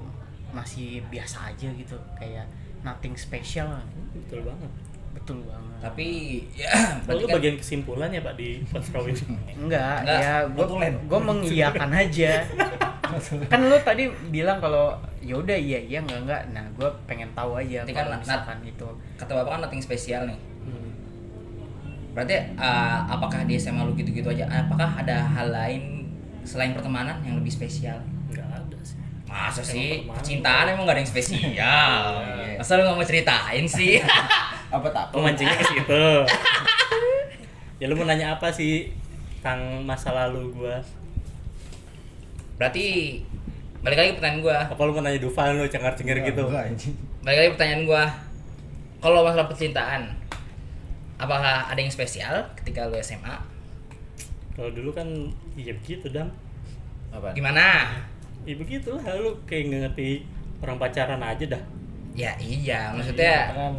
masih biasa aja gitu kayak nothing special
betul banget
betul banget
Tapi ya
Lalu
berarti kan
bagian kesimpulannya pak di pot serau ini
Enggak,
Enggak,
ya gue
notulen.
gue mengiyakan aja. kan lu tadi bilang kalau ya udah iya iya enggak enggak. Nah, gue pengen tahu aja
Ini kan
kalau
nat-
misalkan itu.
kata Bapak kan nothing spesial nih. Berarti eh, apakah di SMA lu gitu-gitu aja? Apakah ada hal lain selain pertemanan yang lebih spesial? Masa sih?
Emang
Percintaan emang gak ada yang spesial. Masa lu gak mau ceritain sih?
apa tak
pemancingnya ke situ ya lu mau nanya apa sih tentang masa lalu gua
Berarti balik lagi pertanyaan gua.
apa lu mau nanya Dufan lu cengar cengir gitu
Balik lagi pertanyaan gua. Kalau masalah percintaan, apakah ada yang spesial ketika lu SMA?
kalau dulu kan ya begitu dam
apa
Gimana?
ya begitu lah lu kayak nggak ngerti orang pacaran aja dah
Ya iya, maksudnya
kan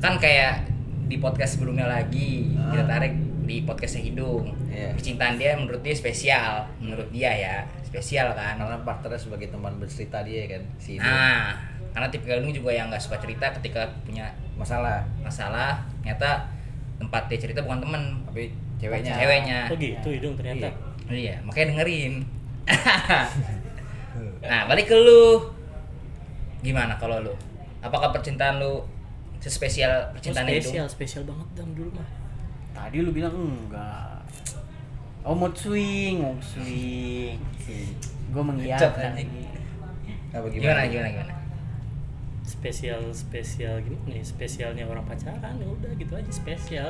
kan kayak di podcast sebelumnya lagi
Ah.
kita tarik di podcastnya hidung
Iya.
percintaan dia menurut dia spesial menurut dia ya spesial kan
karena partnernya sebagai teman bercerita dia kan si itu.
nah karena tipikal hidung juga yang nggak suka cerita ketika punya
masalah
masalah ternyata tempat dia cerita bukan temen
tapi ceweknya
ceweknya
oh gitu hidung ternyata
iya makanya dengerin nah balik ke lu gimana kalau lu apakah percintaan lu sespesial
Oh,
percintaan itu
spesial spesial banget dam dulu mah
Tadi lu bilang enggak. Oh mood swing, mood swing. Gue mengiyakan.
apa
gimana gimana gimana
spesial spesial gimana nih spesialnya orang pacaran ya udah gitu aja spesial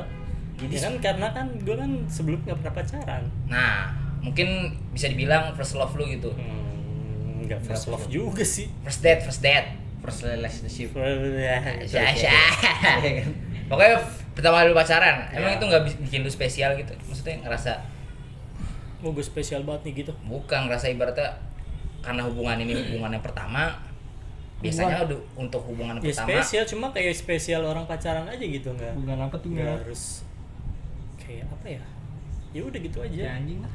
Jadi
jadi kan karena kan gue kan sebelum nggak pernah pacaran
Nah, mungkin bisa dibilang first love lu gitu.
Hmm, nggak first
Nggak
love juga sih
First date, first date.
first relationship
Syah,
Iya,
syah. Pokoknya f- pertama kali lu pacaran, emang
Ya.
itu nggak bi- bikin lu spesial gitu? Maksudnya ngerasa
Oh, gue spesial banget nih gitu.
bukan ngerasa ibaratnya karena hubungan ini hubungan yang pertama biasanya udah untuk hubungan
Ya
pertama
spesial cuma kayak spesial orang pacaran aja gitu nggak?
bukan apa tuh
Nggak
nggak
harus kayak apa ya? Ya udah gitu aja.
ya anjing lah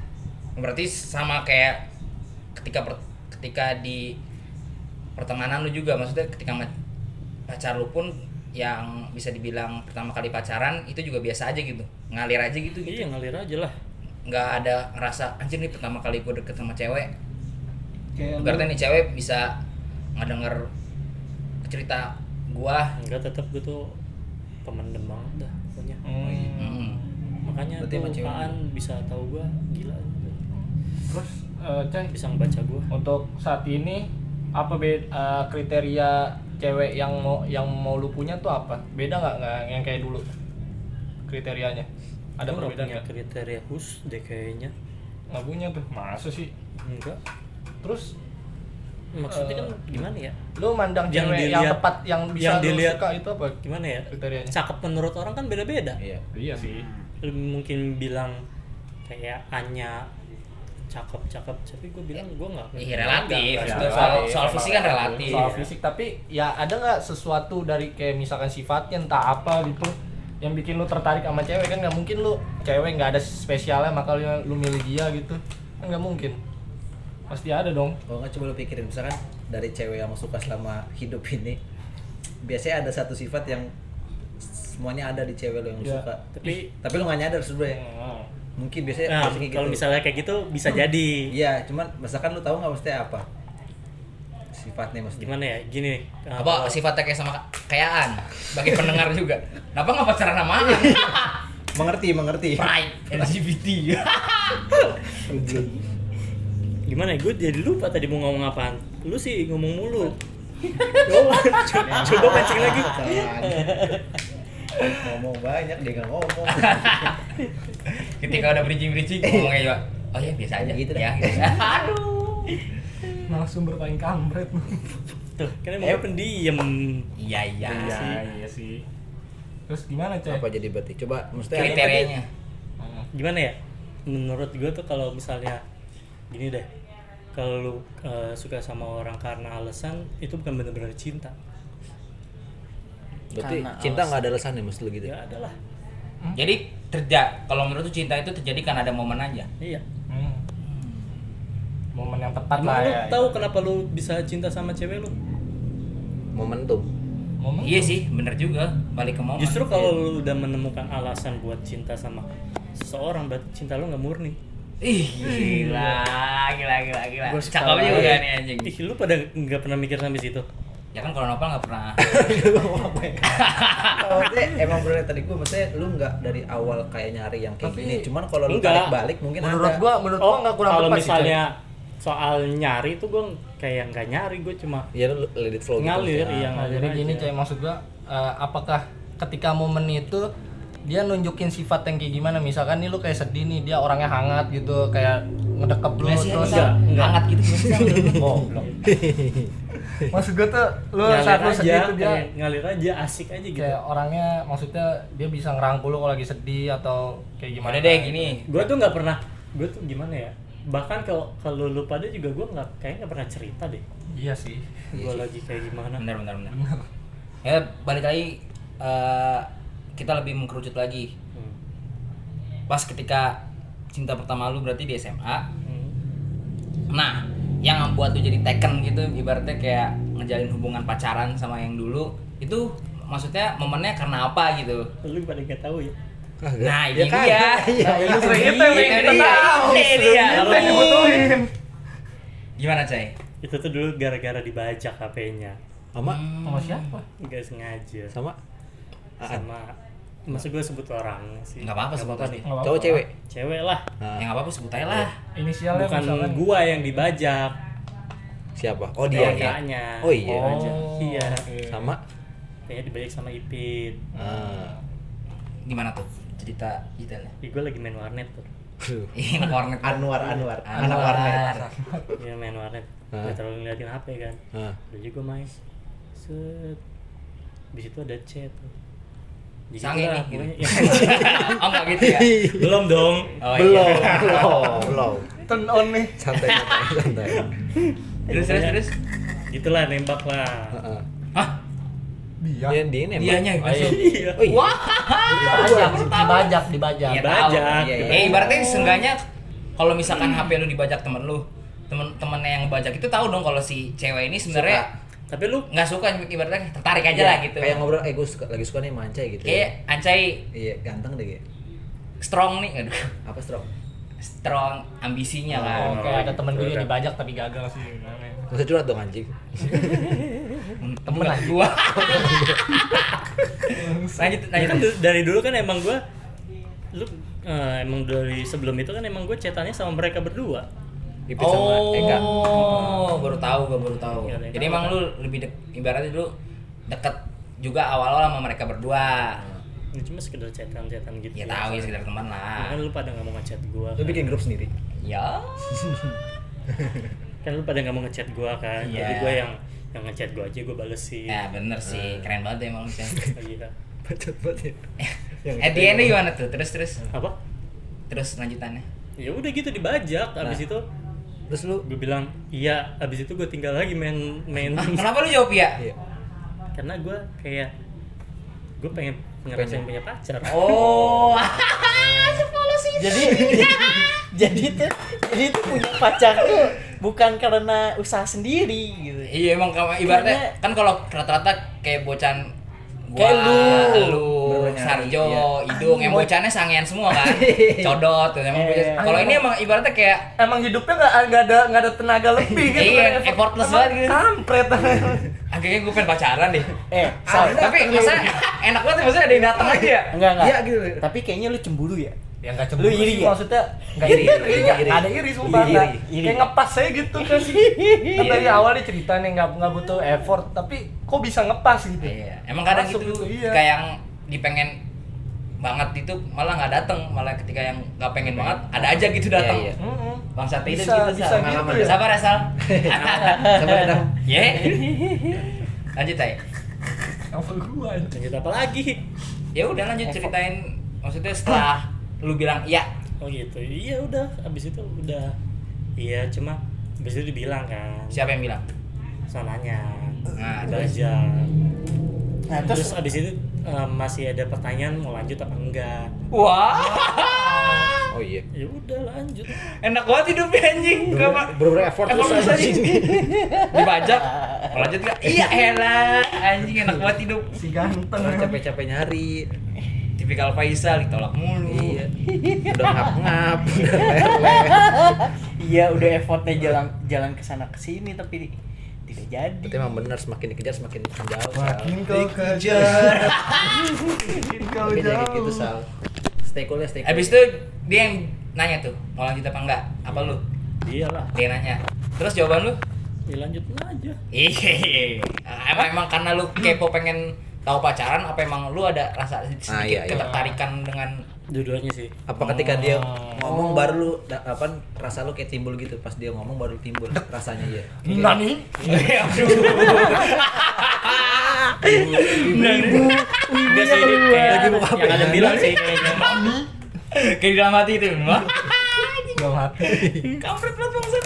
berarti sama kayak ketika per- ketika di pertemanan lu juga maksudnya ketika ma- pacar lu pun yang bisa dibilang pertama kali pacaran itu juga biasa aja gitu ngalir aja gitu gitu
Iya ngalir aja lah.
nggak ada ngerasa anjir nih pertama kali gue deket sama cewek
kayak lu-
berarti nih cewek bisa ngedenger cerita gua
Enggak tetap gue tuh pemendem banget dah pokoknya.
Hmm.
Mm.
Makanya
Berarti
tuh
emang cewek.
Aan bisa tahu gue gila. gitu.
terus eh, Cai,
Bisa ngebaca gue.
untuk saat ini apa be- eh, kriteria cewek yang mau yang mau lu punya tuh apa beda nggak nggak yang kayak dulu kriterianya ada
Gua nggak
perbedaan
punya
nggak
kriteria khusus deh kayaknya.
nggak punya tuh masa sih
Enggak.
terus
Maksudnya kan
Eh,
gimana ya?
lu mandang cewek
Yang
yang
dilihat-
tepat yang bisa
yang
lu
dilihat-
suka itu apa
Gimana ya?
kriterianya
Cakep menurut orang kan beda-beda.
iya
iya sih
Lu mungkin bilang kayak Anya cakep-cakep tapi gue bilang gue nggak
Iya, relatif.
nggak-
Maksudnya
nggak-
soal-
relatif,
soal fisik kan relatif.
soal fisik tapi ya ada nggak sesuatu dari kayak misalkan sifatnya entah apa gitu yang bikin lu tertarik sama cewek kan nggak mungkin lu cewek nggak ada spesialnya maka lu, lu milih dia gitu kan nggak mungkin pasti ada dong
kalau nggak coba lu pikirin misalkan dari cewek yang suka selama hidup ini biasanya ada satu sifat yang semuanya ada di cewek lo yang lu
Iya.
suka
tapi
tapi lu nggak nyadar sebenarnya
Hmm.
mungkin
Iya,
biasanya
nah,
biasanya
kalau misalnya kayak gitu bisa jadi
iya cuman misalkan lu tahu nggak maksudnya apa sifatnya maksudnya
gimana ya gini nih, eh,
apa
kalau-
sifatnya kayak sama kayaan bagi pendengar juga kenapa nggak pacaran sama Aan?
mengerti mengerti
pride LGBT
gimana ya gue jadi lupa tadi mau ngomong apaan lu sih ngomong mulu coba Ya. coba pancing lagi
Kan. ngomong banyak dia nggak ngomong
ketika udah bridging bridging ngomongnya juga oh ya biasa aja
Ya gitu dah.
ya gitu. aduh
malah sumber paling kampret
tuh kan emang gue pendiam
iya iya
iya sih terus gimana cewek
apa jadi berarti coba maksudnya
kriterianya
gimana ya menurut gue tuh kalau misalnya gini deh kalau lu eh, suka sama orang karena alasan itu bukan benar-benar cinta
berarti
Karena
cinta nggak ada alasan ya maksud lu gitu
ya adalah
Hmm? jadi terjadi kalau menurut lu cinta itu terjadi karena ada momen aja
iya
Hmm. momen yang tepat
Emang
lah
lu
ya
tahu kenapa lu bisa cinta sama cewek lu?
momentum
momen
iya sih bener juga balik ke
Oh,
momen
Justru
iya.
kalau lu udah menemukan alasan buat cinta sama seseorang, berarti cinta lu nggak murni.
Ih, gila, gila, gila, gila.
Gua suka
Cakep juga
banget.
nih anjing.
Ih, lu pada nggak pernah mikir sampai situ.
Ya kan kalau nopal nggak pernah.
Oh, maksudnya emang bener tadi gue maksudnya lu nggak dari awal kayak nyari yang kayak
Tapi-
gini cuman kalau lu
Enggak.
balik mungkin
menurut
ada
gua menurut gua nggak kurang
kalau
tepat sih, Cai.
misalnya soal nyari tuh gue kayak nggak nyari gue cuma
Iya lu let it flow
ngalir
gitu.
iya
Nah,
Nah,
ngalir
jadi gini
aja.
cewek maksud gua eh, apakah ketika momen itu dia nunjukin sifat yang kayak gimana misalkan nih lu kayak sedih nih dia orangnya hangat gitu kayak ngedekep lu
Gimana sih
terus
Sal? hangat gitu gimana sih Sal?
goblok maksud gua tuh lu saat lu
ngalir Ya, aja
sedih tuh dia
kayak ngalir aja asik aja gitu
kayak orangnya maksudnya dia bisa ngerangkul lu kalau lagi sedih atau kayak gimana
gimana Ya deh gini
gue tuh nggak pernah gue tuh gimana ya bahkan kalau kalau lu pada juga gue nggak kayak nggak pernah cerita deh
iya sih
gue lagi kayak gimana
benar benar benar ya balik lagi eh, kita lebih mengkerucut lagi
Hmm.
pas ketika cinta pertama lu berarti di SMA
Hmm.
nah yang membuat lu jadi taken gitu ibaratnya kayak ngejalin hubungan pacaran sama yang dulu itu maksudnya momennya karena apa gitu
lu pada nggak tahu ya
nah ini
kan?
dia
Iya,
Nah,
iya.
ini
Sering itu yang
dia.
kita tahu.
Ini dia.
Kita yang dibutuhin.
gimana cai
itu tuh dulu gara-gara dibajak HP-nya
Sama
sama siapa
nggak sengaja
sama
sama maksud gue sebut orang sih
Nggak apa-apa, sebut
deh.
Nggak apa-apa.
cowok cewek. Nah,
cewek lah
ya nggak apa-apa sebut aja lah
inisialnya
bukan
misalkan
gua yang dibajak
Siapa? Oh dia. iya.
kakaknya
Oh iya.
Gua aja. iya
Sama
kayaknya dibajak sama Ipin
ah.
gimana tuh cerita detailnya
Ih, gue lagi main warnet tuh
Aduh.
ini warnet
Anwar Anwar, anak
Anwar.
warnet.
Iya main warnet
Hah?
nggak terlalu ngeliatin HP kan
Hah.
udah juga main set di situ ada chat Jadi
Sange
gua
nih, gitu.
pokoknya-
oh nggak gitu ya
Ya, belum dong
oh,
belum,
iya.
belum, belum.
Turn on nih.
Santai, santai, santai.
terus terus terus
gitulah nembak lah
Heeh.
Hah?
Dia.
Dia dia nembak.
Dianya masuk.
iya
Oh, iya.
Dibajak,
dibajak dibajak
Ya,
Iya, tahu.
Dibajak.
Iya, iya.
Oh.
Eh, ibaratnya seenggaknya kalau misalkan
Hmm.
HP lu dibajak temen lu, temen temennya yang bajak itu tahu dong kalau si cewek ini sebenarnya
tapi lu
nggak suka ibaratnya tertarik aja
Iya,
lah gitu.
Kayak ngobrol, eh gue suka, lagi suka nih mancai gitu.
Kayak Ancai
Iya, ganteng deh kayak.
strong nih, aduh.
Apa stroke?
Strong ambisinya lah.
Oh, kayak ada temen gue
Udah.
yang dibajak tapi gagal sih gimana ya.
Gak usah curhat dong anjing.
Temen lah gua. lanjut
Ya
lanjut.
kan du- dari dulu kan emang gua lu eh, emang dari sebelum itu kan emang gue cetannya sama mereka berdua
Ipit sama Eka.
Oh, baru tahu gua baru tahu.
Iya, Eka.
Jadi emang lu lebih dek, ibaratnya dulu deket juga awal-awal sama mereka berdua.
Hmm. ini cuma sekedar cetan-cetan gitu
Ya tahu ya sekedar teman lah.
kan lu pada nggak mau ngechat gua
Lu
kan.
bikin grup sendiri.
Iya.
Ya.
kan lu pada nggak mau ngechat gua kan
Iya.
jadi gua yang yang ngechat gua aja gua balesin
Ya bener
Iya.
sih, keren banget emang lu Chan.
Oh, iya.
Bacot banget ya. Yang
At the end
ya.
gimana tuh? Terus terus
Iya.
apa
terus lanjutannya.
ya udah gitu dibajak abis itu
Terus lu
gue bilang iya abis itu gue tinggal lagi main main
Ah, kenapa lu jawab ya?
Iya.
karena gue kayak gue pengen ngerasain punya pacar
Oh, sepolos itu.
jadi jadi tuh jadi tuh punya pacar tuh bukan karena usaha sendiri gitu
Iya emang kamu ibaratnya
Karena-
kan kalau rata-rata kayak bocan gua,
Kayak lu. Iya.
lu,
Bener-bener
Sarjo,
nyari,
Idung, yang bocannya sangean semua kan, codot, tuh,
Iya,
emang bocan. Kalau ini emang ibaratnya kayak
Emang hidupnya nggak nggak ada nggak ada tenaga lebih gitu.
Iya,
Effort-
effortless
emang
banget gitu.
Kampret.
akhirnya gue pengen pacaran deh. Ah,
eh Sal,
tapi masa enak banget maksudnya ada yang datang aja. ya?
enggak enggak
Iya, gitu.
tapi kayaknya lu cemburu ya
yang gak
Lu
cemburu
iri
sih
ya?
maksudnya Iya, nggak
Iri,
iri,
iri, iri.
ada iri sumpah
Iri,
Kak.
iri.
kayak ngepas saya gitu kan kan dari awal dia cerita nih nggak nggak butuh effort tapi kok bisa ngepas gitu
Iya, emang kadang
Masuk
gitu,
gitu, iya.
kayak yang dipengen banget itu malah nggak dateng, malah ketika yang nggak pengen banget ada aja gitu datang.
Iya, iya.
Mm-mm.
Bangsa itu
Bisa,
gitu,
bisa
Sal.
gitu
Pengalaman.
ya.
Sabar ya, Sal.
Sabar dong.
Ye. Lanjut, Tay.
Apa gua anjing?
lanjut apa lagi
Ya udah lanjut ceritain maksudnya setelah lu bilang iya.
oh gitu iya udah abis itu udah iya cuma abis itu dibilang kan
Siapa yang bilang?
sananya
Nah,
dibajak
nah
terus
terus
abis itu eh, masih ada pertanyaan mau lanjut apa enggak
Wah,
Oh iya.
ya udah lanjut
enak banget hidupnya anjing. Gak apa.
Bener-bener effort
Emang
terus
bisa
anjing.
nih? Dibajak. Mau lanjut nggak? Iya, elah. Anjing enak banget hidup.
si ganteng
Orang capek-capek nyari.
Tipikal Faisal ditolak mulu.
Iya. Udah ngap-ngap.
iya udah effortnya jalan jalan ke sana ke sini tapi tidak jadi
Tapi emang bener semakin dikejar semakin jauh. Sal.
makin kau kejar makin kau
Tapi
jauh
jangan kayak gitu Sal. Stay cool ya, stay cool.
Abis itu dia yang nanya tuh mau lanjut apa enggak? Apa lu?
Dia lah.
Dia nanya. Terus jawaban lu?
Ya lanjut aja.
Iya. Emang emang karena lu kepo pengen tahu pacaran apa emang lu ada rasa sedikit
Ah, iya, iya.
ketertarikan dengan
Dua-duanya sih.
apa ketika dia ngomong baru lu da- apa rasa lu kayak timbul gitu pas dia ngomong baru timbul rasanya ya
Nani?
Enggak sih kayak
lagi buka
yang ada
apa?
bilang sih gitu. kayaknya.
kayak di dalam hati itu. Wah,
Gak mati.
kampret banget bangsat.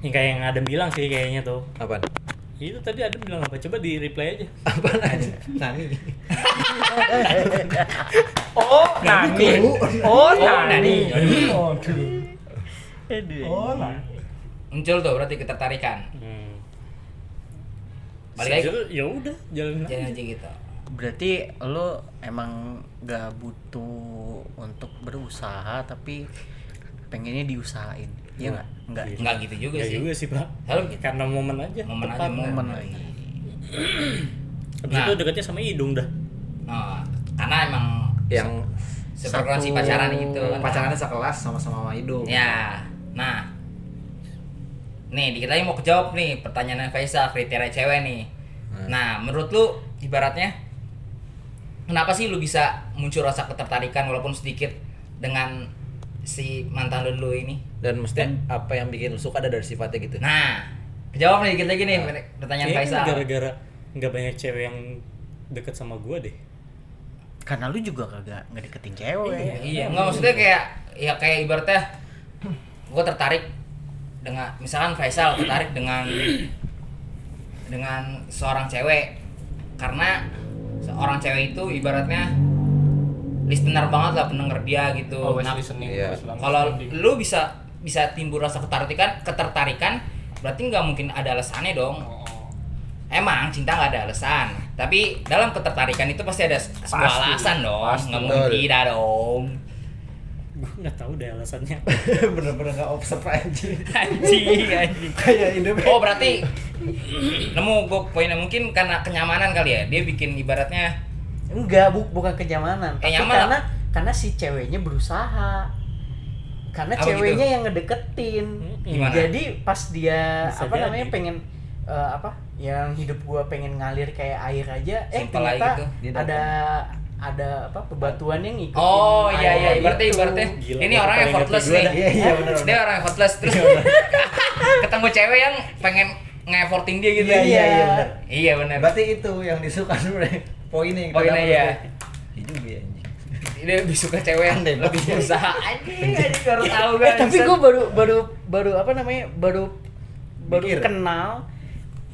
Yang kayak yang ada bilang sih kayaknya tuh.
apaan
Itu tadi ada bilang apa? Coba di replay aja.
apaan aja nani
Oh, Nani. Oh,
nah,
Nani. Oh, Oh, Nani.
Muncul tuh berarti ketertarikan.
Hmm.
Balik lagi.
Sejujurnya, Ya udah, jalanin aja.
Jangan aja gitu.
Berarti lo emang gak butuh untuk berusaha tapi pengennya diusahain. Iya nggak? Enggak.
Enggak gitu juga
Ya
sih.
juga sih, Pak.
Selalu gitu.
Karena momen aja.
Momen aja
tepat.
momen.
Momen lagi.
Habis
Nah.
itu deketnya sama hidung dah.
Nah, karena emang
yang
sefrekuensi pacaran gitu.
pacarannya sekelas sama-sama sama hidung
Ya, nah. Nih, dikit lagi mau kejawab nih pertanyaan Faisal kriteria cewek nih.
Hmm.
Nah, menurut lu ibaratnya kenapa sih lu bisa muncul rasa ketertarikan walaupun sedikit dengan si mantan lu dulu ini?
dan mesti apa yang bikin lu suka ada dari sifatnya gitu
Nah, kejawab nih dikit lagi nih pertanyaan
Kayaknya
Faisal.
gara-gara nggak banyak cewek yang deket sama gua deh.
Karena lu juga kagak ngedeketin cewek.
Iya, enggak maksudnya kayak ya kayak ibaratnya gue tertarik dengan misalkan Faisal tertarik dengan dengan seorang cewek karena seorang cewek itu ibaratnya listener banget lah pendengar dia gitu.
Always
Nah,
listening.
Iya.
always listening.
kalau lu bisa bisa timbul rasa ketertarikan, ketertarikan berarti nggak mungkin ada alasannya dong. Emang cinta nggak ada alasan, tapi dalam ketertarikan itu pasti ada se- sebuah
Pasti.
alasan dong,
Pasti.
nggak mungkin
Betul.
tidak dong.
Gua nggak tahu deh alasannya.
bener-bener nggak observe aja
Anjing, anjing.
kayak Indomie
Oh berarti nemu gue poinnya mungkin karena kenyamanan kali ya, dia bikin ibaratnya
Enggak, bu- bukan kenyamanan.
Eh,
Tapi
nyaman
karena karena si ceweknya berusaha. Karena
Apa
ceweknya
gitu? Hmm,
yang ngedeketin.
Mm-mm.
Gimana?
Jadi pas dia
Bisa
apa
jadi.
namanya pengen eh, apa? Yang hidup gua pengen ngalir kayak air aja, eh
Simpel aja
ternyata
gitu.
Dia datang.
ada ada apa pebatuan yang ngikutin.
Oh iya iya,
airnya
ibaratnya
gitu.
ibaratnya
Gila,
ini
gua
orang
paling
effortless
ngerti
nih.
gua
dah. Iya, iya, bener,
Dia orang effortless terus ketemu cewek yang pengen ngefortin dia gitu.
Iya, iya, iya, bener.
Iya benar.
berarti itu yang disuka dulu deh poinnya yang kita
Poinnya,
dapet
iya.
tuh. Iya juga ya anjing
Dia lebih suka cewek yang
Aneh
lebih
banget.
berusaha. Anjing, anjing baru tahu
Eh,
gua,
tapi
anjing.
gue baru baru baru apa namanya baru baru
Mikir.
kenal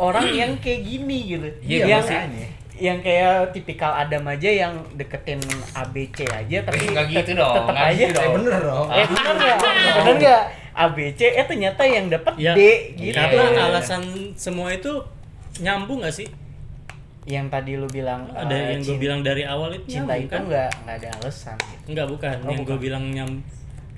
orang yang kayak gini gitu
Iya,
yang
makanya.
yang kayak tipikal Adam aja yang deketin ABC aja tapi
Eh, nggak gitu
tet-
dong,
tetep
nggak
aja
gitu
Eh, bener dong
eh bener nggak bener nggak ABC eh ternyata yang dapet
Ya,
D
Iya, iya, iya.
gitu
Karena alasan semua itu nyambung nggak sih?
yang tadi lu bilang
Ada
eh,
yang gue
cin-
bilang dari awal itu
cinta
nyambung
itu
kan?
nggak nggak ada alasan gitu.
Enggak bukan,
Oh,
yang
bukan.
gue bilang nyam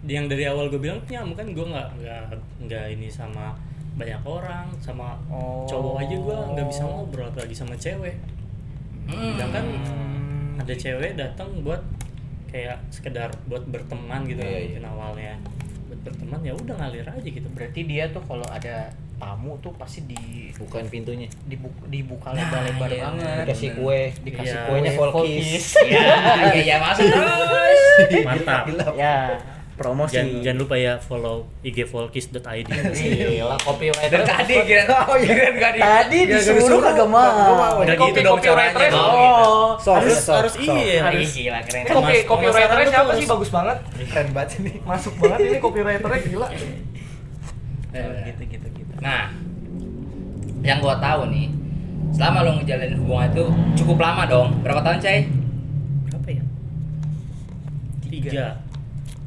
yang dari awal gue bilang nyam kan gue nggak nggak nggak ini sama banyak orang sama
Oh.
cowok aja gue nggak bisa ngobrol apalagi sama cewek
Hmm.
sedangkan ada cewek datang buat kayak sekedar buat berteman gitu
Iya, iya.
mungkin awalnya buat berteman ya udah ngalir aja gitu
berarti dia tuh kalau ada tamu tuh pasti di
bukan pintunya
dibuka, dibuka
Nah,
lebar-lebar
iya,
banget
dikasih kue
dikasih
Iya.
kue
kuenya volkis
Volkis.
Iya, iya, iya, masuk terus.
Iya,
mantap
ya promosi
jangan, jangan lupa ya follow igvolkis.id
Gila, copywriter.
Dan tadi kira oh iya kan gak di.
tadi
Ya,
disuruh
gak disuruh, gak
kagak mau
mau.
Gak
Kopi-
gitu dong
copywriter
caranya.
dong.
oh
Soft,
harus
soft,
harus
soft.
iya
Ih, gila keren.
Kan Kopi
Mas-
copywriternya
pemasaran
siapa
tuh
sih bagus banget?
keren banget ini
Masuk banget ini copywriternya gila.
gitu gitu gitu
eh, Nah, yang gua tahu nih, selama lo ngejalanin hubungan itu cukup lama dong. Berapa tahun, Cai?
berapa ya tiga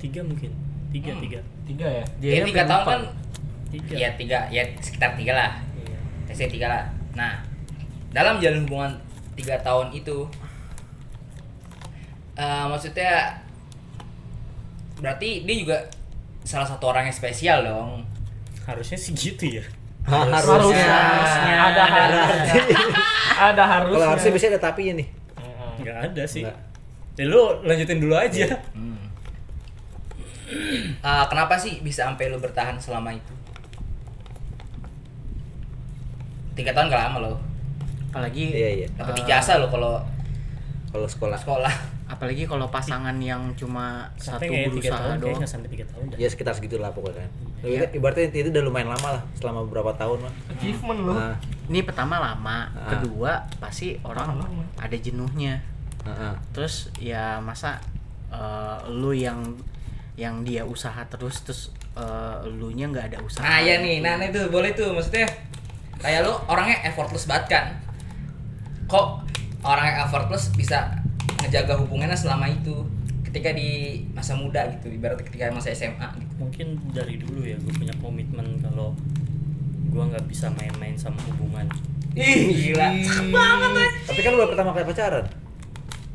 tiga mungkin tiga
Hmm.
tiga
Tiga ya.
Ya, tiga tahun kan
tiga
ya
Iya,
tiga ya sekitar tiga lah saya tiga lah nah dalam jalan hubungan tiga tahun itu eh, maksudnya berarti dia juga salah satu orang yang spesial dong
harusnya sih gitu ya
harusnya
Harusnya.
Ada harusnya. Ada harusnya.
kalau harusnya biasanya ada tapinya nih
Heeh.
nggak ada sih
Nggak.
ya lu lanjutin dulu aja
Hmm. Eh, kenapa sih bisa sampai lu bertahan selama itu? Tiga tahun gak lama lo.
apalagi
Iya, iya.
Dapat
eh,
ijazah lo kalau
Kalau sekolah.
sekolah.
apalagi kalau pasangan yang cuma
Sampai nggak
satu
ya tiga
berusaha
tahun,
doang
kayaknya sampai tiga tahun dah.
Ya sekitar segitulah pokoknya. Lebih- Ibaratnya itu udah lumayan lama lah, selama beberapa tahun lah.
achievement lu
Nah,
ini pertama lama
Ah.
kedua pasti orang ada jenuhnya
nah,
terus ya masa eh, lu yang yang dia usaha terus terus eh, lu nya nggak ada usaha
Nah, ya nih,
gitu.
nah itu boleh tuh maksudnya kayak lu orangnya effortless banget kan. Kok orang yang effortless bisa ngejaga hubungannya selama itu ketika di masa muda gitu, ibarat ketika masa SMA gitu.
Mungkin dari dulu ya gue punya komitmen kalau gue nggak bisa main-main sama hubungan.
Ih, gila. Oh,
Tapi kan udah pertama kali pacaran.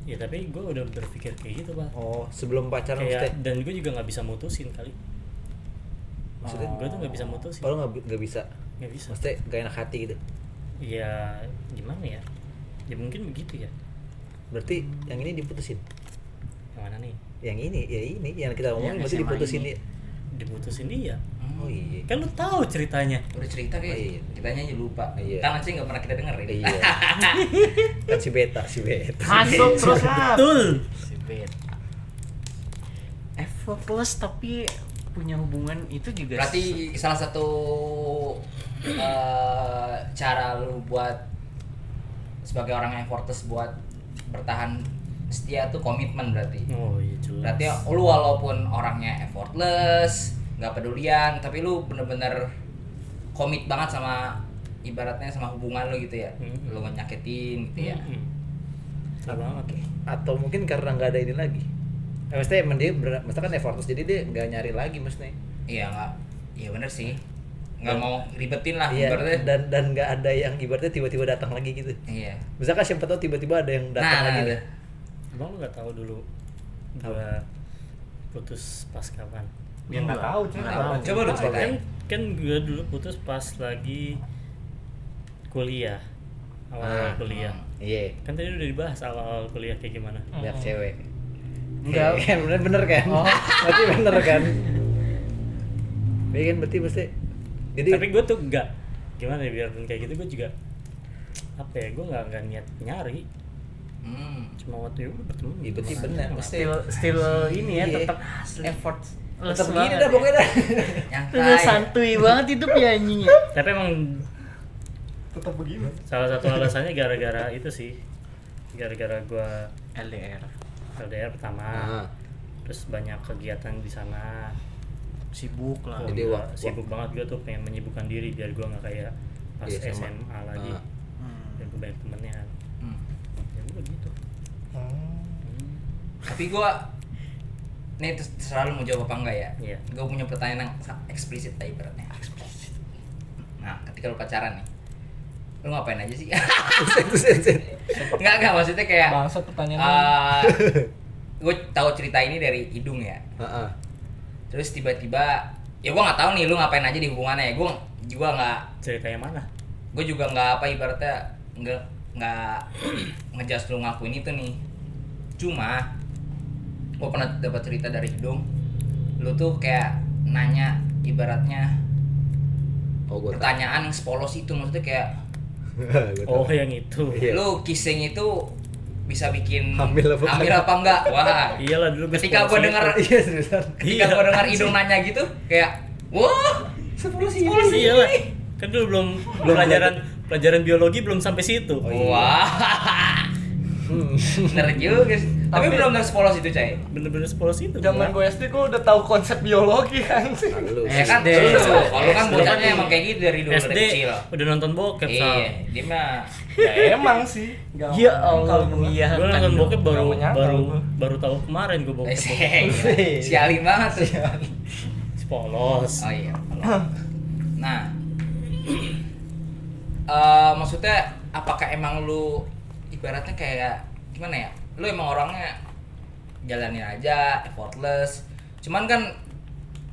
Ya tapi gue udah berpikir kayak gitu pak.
Oh, sebelum pacaran maksudnya.
Kayak dan gue juga nggak bisa mutusin kali.
Maksudnya?
gue Oh. tuh nggak bisa mutusin.
Kalau nggak nggak bisa,
Nggak bisa.
maksudnya gak enak hati gitu.
Ya gimana ya? Ya mungkin begitu ya.
Berarti yang ini diputusin.
Yang mana nih?
Yang ini, ya ini yang kita ngomongin
Yang
berarti
SMA
diputusin
ini.
dia.
Diputusin dia.
Hmm.
Oh iya.
Kan lu tahu ceritanya.
Udah cerita kayak
Oh, iya.
kitanya aja lupa.
Iya.
Kan sih nggak pernah kita dengerin.
Iya. kan si beta, si beta.
masuk terus Nat.
Betul.
Si Ben. effortless tapi punya hubungan itu juga
Berarti salah satu eh, cara lu buat sebagai orang yang effortless buat bertahan setia tuh komitmen berarti.
Oh iya jelas.
Berarti lu walaupun orangnya effortless, nggak pedulian, tapi lu bener-bener komit banget sama ibaratnya sama hubungan lu gitu ya.
Mhm.
Mm-hmm.
Lu nggak nyakitin gitu ya.
Mm-mm. Salah banget ya.
Atau mungkin karena nggak ada ini lagi. Eh, maksudnya emang dia ber- maksudnya kan effortless jadi dia nggak nyari lagi maksudnya.
Iya nggak, iya bener sih. Nggak mau ribetin lah
Iya.
ibaratnya.
Dan dan nggak ada yang ibaratnya tiba-tiba datang lagi gitu.
Iya.
Misalkan siapa tahu tiba-tiba ada yang
Nah,
datang lagi.
nah,
nih.
nah.
Emang lu nggak tahu dulu gua putus pas kapan?
dia nggak tahu cerita
Nggak tahu.
Nah, Coba lu
Kan
ceritain.
kan gua dulu putus pas lagi kuliah awal-awal
Ah.
kuliah.
Iya.
Kan tadi udah dibahas awal-awal kuliah kayak gimana.
Biar
Hmm.
cewek.
Enggak.
Iya, bener bener kan?
Oh.
Berarti bener kan? Iya kan berarti mesti. Jadi
Tapi gua tuh nggak gimana ya biarpun kayak gitu gua juga apa ya gua nggak nggak niat nyari
Hmm.
cuma waktu itu udah bertemu gitu
Iya, berarti bener. Mesti
still still ini ya
Iya.
tetap effort
tetap gini dah pokoknya dah.
Udah
Nyantai.
santuy banget hidup ya anjingnya
tapi emang
tetap begini
salah satu alasannya gara-gara itu sih gara-gara gua
LDR
LDR pertama
Ah.
terus banyak kegiatan di sana
sibuk lah
Gua
Jadi
juga
wak-
sibuk banget gue tuh pengen menyibukkan diri biar gue nggak kayak pas
Iya, sama.
SMA lagi
Ah.
Hmm.
biar gue banyak temennya kan
Hmm.
ya gue gitu
Hmm.
tapi gua nih terus- terserah lu mau jawab apa enggak ya
Iya.
gua punya pertanyaan yang sa- eksplisit lah ibaratnya nah ketika lu pacaran nih lu ngapain aja sih
Terus, terus, terus.
enggak enggak maksudnya kayak
bangsat pertanyaan
eh gue tahu cerita ini dari hidung ya
Heeh.
terus tiba-tiba ya gua nggak tahu nih lu ngapain aja di hubungannya ya gua juga nggak
cerita yang mana
gue juga nggak apa ibaratnya nggak nggak ngejas lu ngakuin itu nih cuma gue pernah dapat cerita dari hidung lu tuh kayak nanya ibaratnya
Oh gue tahu.
pertanyaan yang sepolos itu maksudnya kayak
Gua tahu.
oh yang itu
Iya.
lu kissing itu bisa bikin
Hamil apa enggak?
apa enggak wah
iyalah dulu gua
ketika gue
sekolah
denger
situ.
Iya seriusan.
ketika
Iya,
gue denger
anjing.
hidung nanya gitu kayak wah sepolos ini
iyalah kan dulu belum
Belum
pelajaran pelajaran biologi belum sampai situ
Oh, iya.
wah
Hmm.
iya. bener juga sih. tapi
Tapi-
belum sepolos itu cai
bener-bener sepolos itu
zaman
gua.
gue SD gue udah tahu konsep biologi kan
Nah, lu.
Ya kan,
SD.
dulu. Kalau kan
SD.
bocahnya emang kayak gitu dari dulu dari
SD
kecil.
udah nonton bokep
Iya,
Sal.
dia mah
ya emang sih Nggak
Ya
nyangkal
Allah,
gua.
iya
gue nonton bokep baru
Nggak menyangkal
baru
gua.
baru tahu kemarin gue
Eh,
bokep
Seng. Sialin banget tuh.
polos
Oh iya. Nah. Eh, maksudnya apakah emang lu ibaratnya kayak gimana ya? Lu emang orangnya jalanin aja, effortless. Cuman kan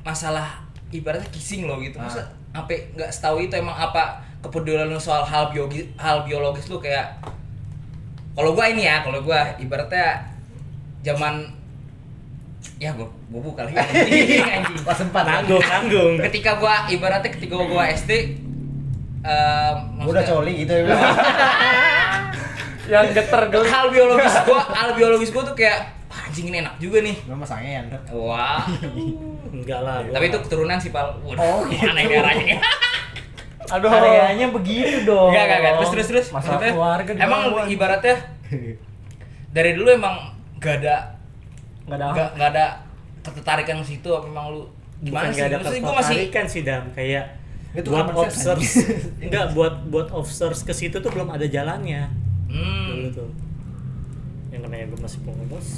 masalah ibaratnya kissing lo gitu. Masa sampai nggak setahu itu emang apa kepedulian lu soal hal biologis, hal biologis lu kayak kalau gua ini ya, kalau gua ibaratnya zaman ya gua gua buka lagi anjing anjing
Wah sempat.
Nanggung, nanggung.
ketika gua ibaratnya ketika gua SD em,
Gua udah
maksudnya-
coli gitu ya. bilang.
yang geter gelut
hal biologis gua hal biologis gua tuh kayak "Wah, anjing ini enak juga nih
Gua masangnya ya. Ndra.
wah
Enggak lah. gua Oh, gitu.
tapi itu keturunan sih pal Waduh, aneh darahnya nih
aduh
Karyanya begitu dong.
Enggak, enggak, enggak. Terus, terus, terus.
Masalah
Maksudnya,
keluarga di
Emang
bawah.
ibaratnya dari dulu emang gak ada
nggak
Ya.
ada
gak, gak ada ketertarikan ke situ apa emang lu gimana
Bukan
sih?
nggak ada
Maksudnya gua masih
ketertarikan sih dam kayak
Itu
buat
common sense,
observers enggak buat buat observers ke situ tuh belum ada jalannya dulu
hmm,
tuh yang namanya gue masih pengurus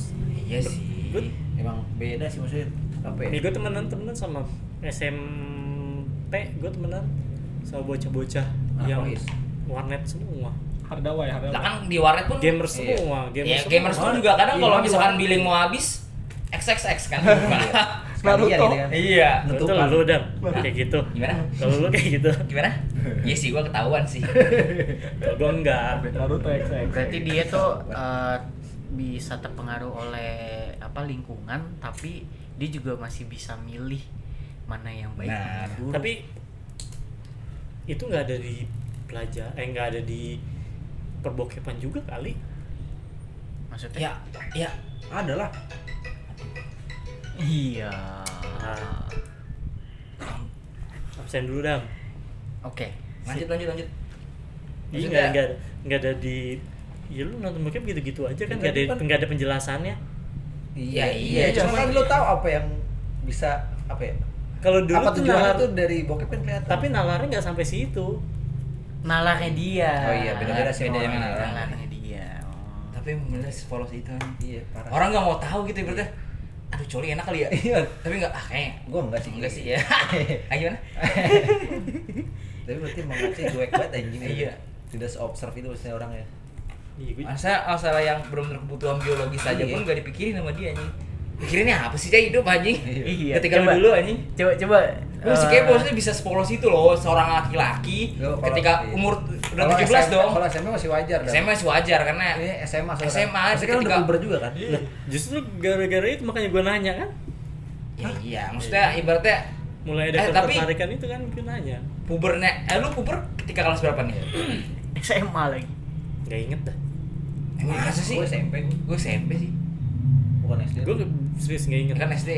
iya sih.
Good.
Emang beda sih maksudnya apa ya?
nih gue temenan temenan sama SMP gue temenan sama bocah-bocah yang
Narkois.
warnet semua
hardaway
Lah
hardaway
kan di warnet pun
gamers
Iya.
semua
ya,
gamers semua
gamers pun juga kadang
Iya,
kalau
di
misalkan
warnet.
billing mau habis XXX kan.
Sekalian
Naruto.
gitu kan.
Iya.
Betul
Nutupan.
lu dam kayak gitu
Nah, Gimana?
kalau lu kayak gitu
Gimana? Iya sih gua ketahuan sih.
kalau gue enggak
Naruto XX
Berarti dia tuh eh, bisa terpengaruh oleh apa lingkungan tapi dia juga masih bisa milih mana yang baik
Nah,
mana yang buruk.
tapi itu nggak ada di pelajar eh nggak ada di perbokepan juga kali
maksudnya
Ya, ya.
Ada lah.
iya.
Ah. absen dulu dam
Oke.
Lanjut lanjut lanjut.
Iya
Maksudnya-
nggak nggak nggak ada di ya lu nonton bokep gitu-gitu aja kan nggak ada
Tapi kan-
nggak ada penjelasannya
Iya, iya,
Cuma
cuma-
kan lu tahu apa yang bisa apa ya?
kalau dulu
apa
tuh
tujuannya
nalar-
tuh dari bokep kan kelihatan.
tapi nalarnya nggak sampai situ
Nalarnya dia.
Oh iya, beda-beda sih
Beda
orang.
emang nalar.
Nalarnya dia. Oh.
Tapi emang bener sih polos itu. kan, anjing.
Iya, parah.
Orang nggak mau tahu gitu ibaratnya. Aduh, coli enak kali ya.
Iya.
Tapi nggak ah kayaknya.
Gua enggak sih.
Enggak sih ya. ah, gimana?
Tapi berarti emang Aceh cuek banget anjing.
Iya.
Tidak seobserv itu maksudnya ya. orangnya.
Iya, gue-
Masa masalah yang belum kebutuhan biologis aja
Iya.
pun nggak dipikirin sama dia anjing. Pikirinnya apa sih dia hidup anjing?
Iya,
Ketika lu
coba.
dulu anjing.
Coba coba.
Lu sih
eh,
kayak maksudnya bisa sepolos itu loh seorang laki-laki
Lu kalau-
ketika
iya.
umur t- udah
Kalau
17
SMP
dong.
Kalau SMA masih wajar Iya. dah.
SMA sih wajar karena ya
Ini SMA soalnya.
SMA,
Maksudnya kan udah
ketika- Iya.
puber juga kan?
Lah, justru gara-gara itu makanya gue nanya kan
ya, iya, maksudnya ibaratnya
mulai
Eh,
ada
tapi-
ketertarikan itu kan gue nanya
pubernya eh lu puber ketika kelas berapa nih?
SMA lagi.
nggak inget dah
Emang Eh, masa sih?
Gue SMP, gua.
Gue SMP sih.
bukan SD.
gue serius nggak
Iya.
inget
Kan SD.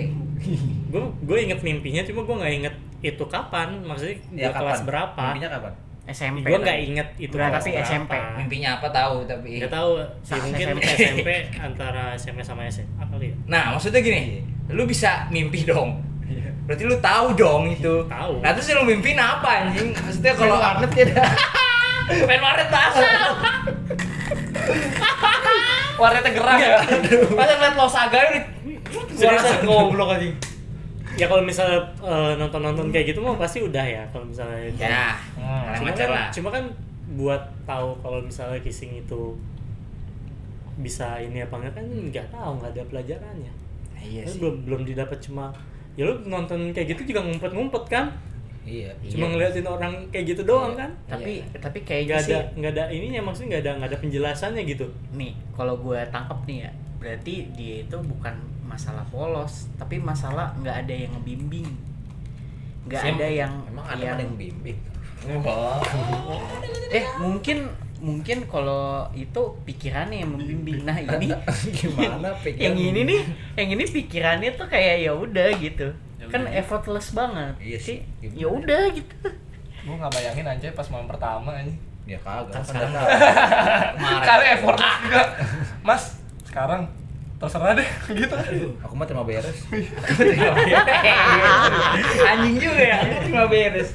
gue gue inget mimpinya cuma gue nggak inget itu kapan maksudnya
Ya,
gua kelas berapa
Mimpinya Nah, kapan?
SMP.
gue nggak inget itu
Nggak,
kelas
tapi
berapa.
SMP.
Mimpinya apa tahu tapi.
nggak tahu ya,
Ah,
Saat
mungkin
SMP.
SMP antara SMP sama SMA kali ya
Nah, maksudnya gini, lu bisa mimpi dong. Berarti lu Iya. tahu dong itu.
Tahu.
Nah, terus lu mimpiin apa anjing? Maksudnya kalau
warnet ya dah.
main warnet pasar. Warnetnya gerak ya. Masa liat losaga udah
Seriusan?
Seriusan goblok anjing.
ya kalau misalnya eh, nonton-nonton kayak gitu mah pasti udah ya kalau misalnya itu.
Ya,
Hmm.
paling
cuma
lancar
kan,
lah.
cuma kan buat tahu kalau misalnya kissing itu bisa ini apa enggak kan nggak tahu nggak ada pelajarannya
Iya
Kan
sih.
belum belum didapat cuma ya lu nonton kayak gitu juga ngumpet-ngumpet kan
Iya.
cuma ngeliatin orang kayak gitu doang kan
Tapi
Iya.
tapi kayaknya
nggak ada
sih
nggak ada ininya maksudnya nggak ada nggak ada penjelasannya gitu
nih kalau gue tangkap nih ya berarti dia itu bukan masalah polos tapi masalah nggak ada yang ngebimbing nggak
Sim,
ada yang
Emang ada yang, yang bimbing.
Iya.
eh mungkin mungkin kalau itu pikirannya yang membimbing nah ini
Gimana pikiran?
yang ini nih yang ini pikirannya tuh kayak ya udah gitu kan effortless banget
Ya Iya sih.
ya udah gitu
gue nggak bayangin anjay pas malam pertama ini
Ya
Kan
kagak. Kan
sekarang
ada-
Kemarin.
kali effort juga mas sekarang terserah deh gitu
Aku mah terima beres.
Anjing juga ya, cuma beres.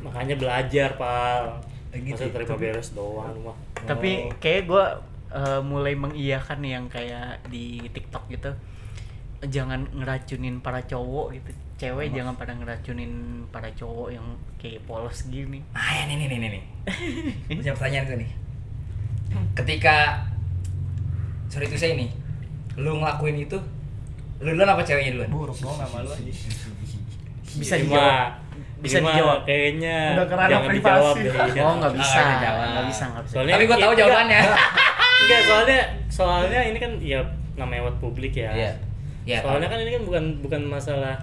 makanya belajar pal
Gitu.
masa terima beres doang lu mah
Oh.
tapi
Oh.
kayak gue mulai mengiyakan yang kayak di TikTok gitu jangan ngeracunin para cowok gitu cewek jangan pada ngeracunin para cowok yang kayak polos gini
Ah, ya, nih nih nih nih. nih. Punya pertanyaan tuh nih. Ketika sorry itu saya ini, lu ngelakuin itu, lu duluan apa ceweknya duluan?
buruk dong nama lu anjing.
bisa
Ini
dijawab
mah-
Bisa
ini mah
dijawab.
iya, kayaknya
Udah kerana
Iya. jangan
privasi.
dijawab deh.
oh nggak bisa
nggak dijawab.
nggak bisa nggak bisa
Soalnya-
Tapi gua tahu
Iya,
jawabannya.
Enggak, soalnya soalnya ini kan ya namanya buat publik ya.
Iya.
Ya,
Soalnya kan ini kan bukan bukan masalah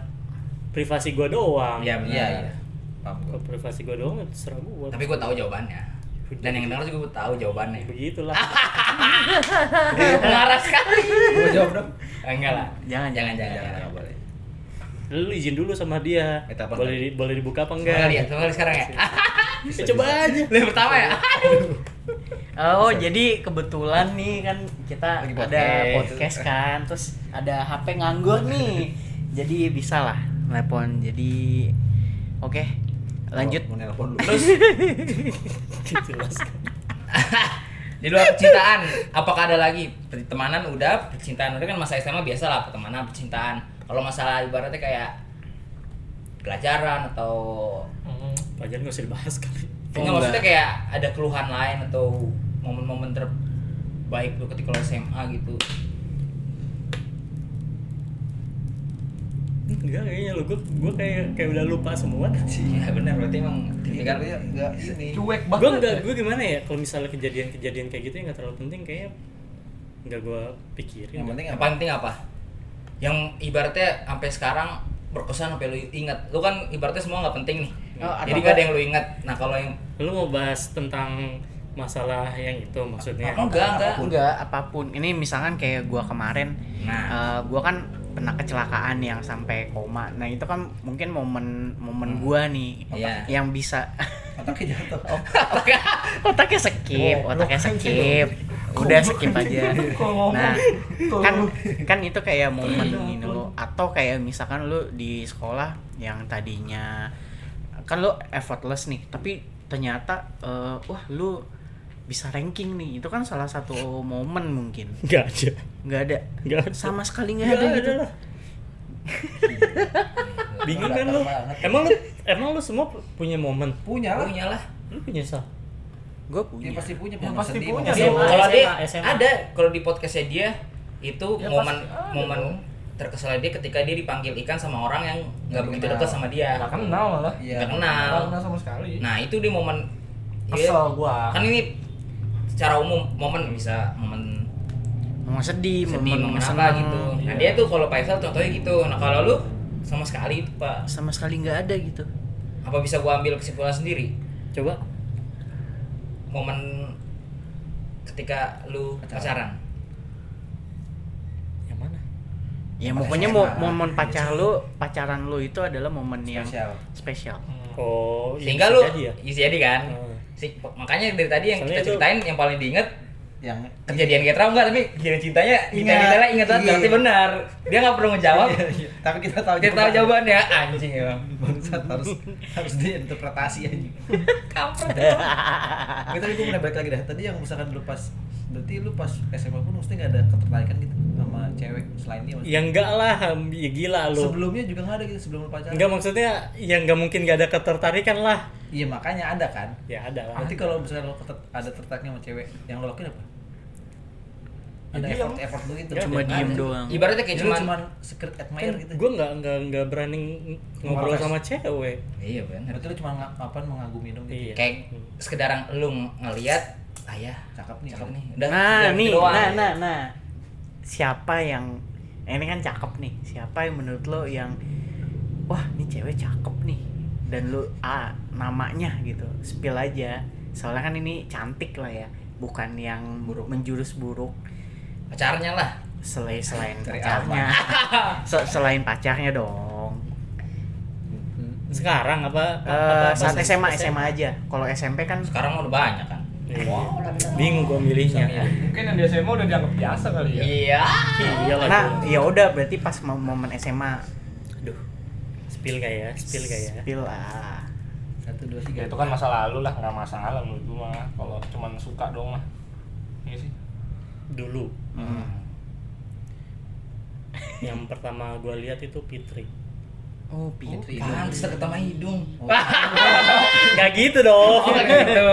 privasi gua doang.
Iya benar.
Iya, iya. Paham gua.
Kalau privasi gua doang itu serah gua.
Tapi gue tahu jawabannya. Dan yang denger juga gue tahu jawabannya.
begitulah.
Mengarah sekali.
Gua jawab dong.
Enggak lah.
Jangan,
jangan.
Jangan,
jangan,
jangan.
nggak Ya, boleh.
Lu izin dulu sama dia.
Minta apa?
Boleh di- boleh dibuka apa enggak?
Semoga lihat, semoga lihat sekarang ya.
Ya, coba aja.
Yang pertama ya.
Oh, jadi kebetulan nih kan kita
Lagi
ada
podcast.
podcast kan, terus ada HP nganggur nih. Jadi bisa lah telepon. Jadi oke. Lanjut.
Mau nelpon lu.
Jelas.
Di luar percintaan, apakah ada lagi pertemanan udah, percintaan udah kan masa SMA biasa lah pertemanan, percintaan. Kalau masalah ibaratnya kayak pelajaran atau
Pajan enggak usah dibahas kali.
Enggak, maksudnya kayak ada keluhan lain atau momen-momen terbaik lu ketika lu SMA gitu.
Enggak kayaknya lu gua, gua kayak kayak udah lupa semua.
Iya benar berarti emang
Ini kan dia nggak ini.
cuek
gue
banget
nggak gue gimana ya kalau misalnya kejadian-kejadian kayak gitu yang nggak terlalu penting kayaknya nggak gue pikirin
Yang penting
yang
apa?
penting apa? Yang ibaratnya sampai sekarang berkesan sampai lu ingat. Lu kan ibaratnya semua nggak penting nih.
Oh, atau
Jadi nggak ada yang lu ingat. Nah kalau yang
lu mau bahas tentang masalah yang itu maksudnya
Oh, enggak enggak.
Enggak, apapun. Ini misalkan kayak gua kemarin,
Nah.
eh, gua kan pernah kecelakaan yang sampai koma. Nah, itu kan mungkin momen momen gua nih
Hmm. Iya.
yang bisa
Otaknya jatuh.
otaknya otaknya skip, otaknya
kan
skip. Udah skip aja. Nah, kan kan itu kayak momen
Iya,
ini lo atau kayak misalkan lu di sekolah yang tadinya kan lu effortless nih, tapi ternyata eh, wah lu bisa ranking nih. Itu kan salah satu momen mungkin.
nggak aja
nggak ada.
nggak ada.
Sama sekali nggak
nggak
ada
ada,
gitu.
lah bingung kan lu emang lu emang lu semua pu- punya momen
Punya lah.
punya lah.
lu punya sal
Gue
Dia
punya.
pasti punya.
Ya,
momen
pasti
sedih,
punya
momen
Dia-
Iya,
senang.
dong.
kalau dia
SMA, SMA.
ada kalau di podcastnya dia itu
Ya,
momen
pasti ada
momen
dong.
terkesalnya dia ketika dia dipanggil ikan sama orang yang nggak
Nggak
begitu
dikenal.
dekat sama dia.
nggak kenal malah
Iya.
Nggak kenal.
nggak kenal sama sekali
Nah itu di momen Iya.
kesel gua
kan ini secara umum momen bisa momen
Mau sedih,
Iya,
sedih momen
momen
apa
senang.
gitu
Iya.
nah dia tuh kalau Faisal contohnya gitu nah kalau lu sama sekali itu pak
Sama sekali nggak ada gitu.
apa bisa gua ambil kesimpulan sendiri
coba
momen ketika lu pacaran
yang mana
Ya
Pas
pokoknya
SMA.
mo- momen pacar lu, pacaran lu itu adalah momen yang
Spesial.
spesial.
Hmm.
oh iya,
sehingga
bisa
lu
jadi ya
isi jadi kan
Hmm.
Si- makanya dari tadi yang kita
Soalnya
ceritain yang paling diinget
Yang
kejadian kayak trauma enggak tapi kejadian cintanya kita
Ingat.
kita inget banget
Iya.
berarti benar dia nggak perlu ngejawab
tapi kita tahu
kita tahu jawabannya anjing ya bang
Bangsat harus harus diinterpretasi aja.
kampret
Nggak, tapi gue mulai balik lagi dah. Tadi yang misalkan lu pas berarti lu pas SMA pun mesti nggak ada ketertarikan gitu sama cewek selain dia. maksudnya.
ya enggak lah ya gila lu
Sebelumnya juga nggak ada gitu sebelum lu pacaran.
enggak maksudnya yang nggak mungkin nggak ada ketertarikan lah
Iya makanya ada kan.
ya ada lah
Berarti kalau misalnya lo keter- ada tertariknya sama cewek, yang lo lakuin apa? Ada
Ya,
effort effort lo gitu.
Cuma
Ada.
diem doang.
ibaratnya kayak
Jadi lo
cuman Kan
cuman secret admirer gitu.
gue Kan nggak nggak nggak berani ng- ngobrol
Ngomong
sama cewek
iya benar
Berarti lo cuma ng- apa mengagumi dong gitu.
Iya.
kayak sekedar lu ng- ngeliat ah ya
Cakep nih.
cakep nih udah
Nah,
udah
nih,
gitu doang.
nah, nah, nah. Siapa yang eh, ini kan cakep nih. Siapa yang menurut lo yang wah, ini cewek cakep nih. Dan lu ah namanya gitu. Spill aja. Soalnya kan ini cantik lah ya. Bukan yang menjurus buruk
pacarnya lah
selain selain
Cari
pacarnya. Se- selain pacarnya dong.
Hmm.
sekarang apa,
Eh,
apa- apa- apa-
saat SMA, SMA aja. Kalau SMP kan
sekarang mah udah banyak kan
Iya. bingung gue milihnya
mungkin yang di SMA udah dianggap biasa kali ya
iya
iya lah
Nah,
gua.
ya udah berarti pas mom- momen SMA
aduh spill gak ya spill gak ya
spill lah.
Satu dua
ya
tiga.
itu kan masa lalu lah nggak masalah menurut gua mah kalau cuman suka doang mah Iya sih
dulu
Hmm.
yang pertama gue lihat itu Fitri
Oh, pi-
pantes deket sama hidung
Oh.
nggak gitu dong
oh gitu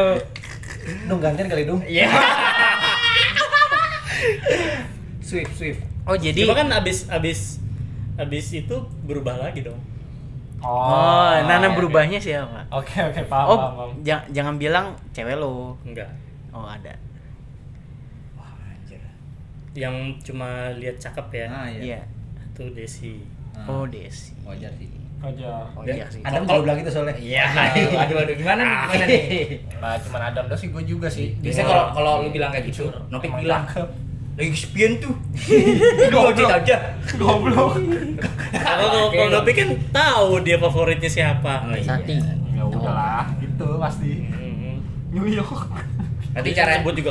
Dong gantian kali dong.
iya
Swift swift.
Oh, jadi
cuma kan abis abis abis itu berubah lagi dong
Oh,
iya,
Nana berubahnya siapa?
oke oke oke, paham
oh,
paham, paham.
jang- jangan bilang cewek lo.
enggak
Oh, ada.
Wah, anjir.
yang cuma lihat cakep ya
Ah iya.
Iya.
itu Desi
Nah,
Oh Desi.
wajar sih
aja
Oh
Dan
iya sih.
Adam juga bilang gitu soalnya
Iya. Aduh, aduh, aduh, gimana nih? Gimana nih?
nah cuman Adam doang sih gue juga sih
Biasanya kalau kalau lu bilang kayak gitu, Nopik
Emang
bilang
cakep.
lagi kesepian tuh. Lu ojek aja.
goblok
kalau kalau kalau Nopi kan tahu dia favoritnya siapa
Oh, iya.
Sati.
ya udahlah gitu pasti
Mm-mm.
New York
Berarti
Dia
cara
sebut juga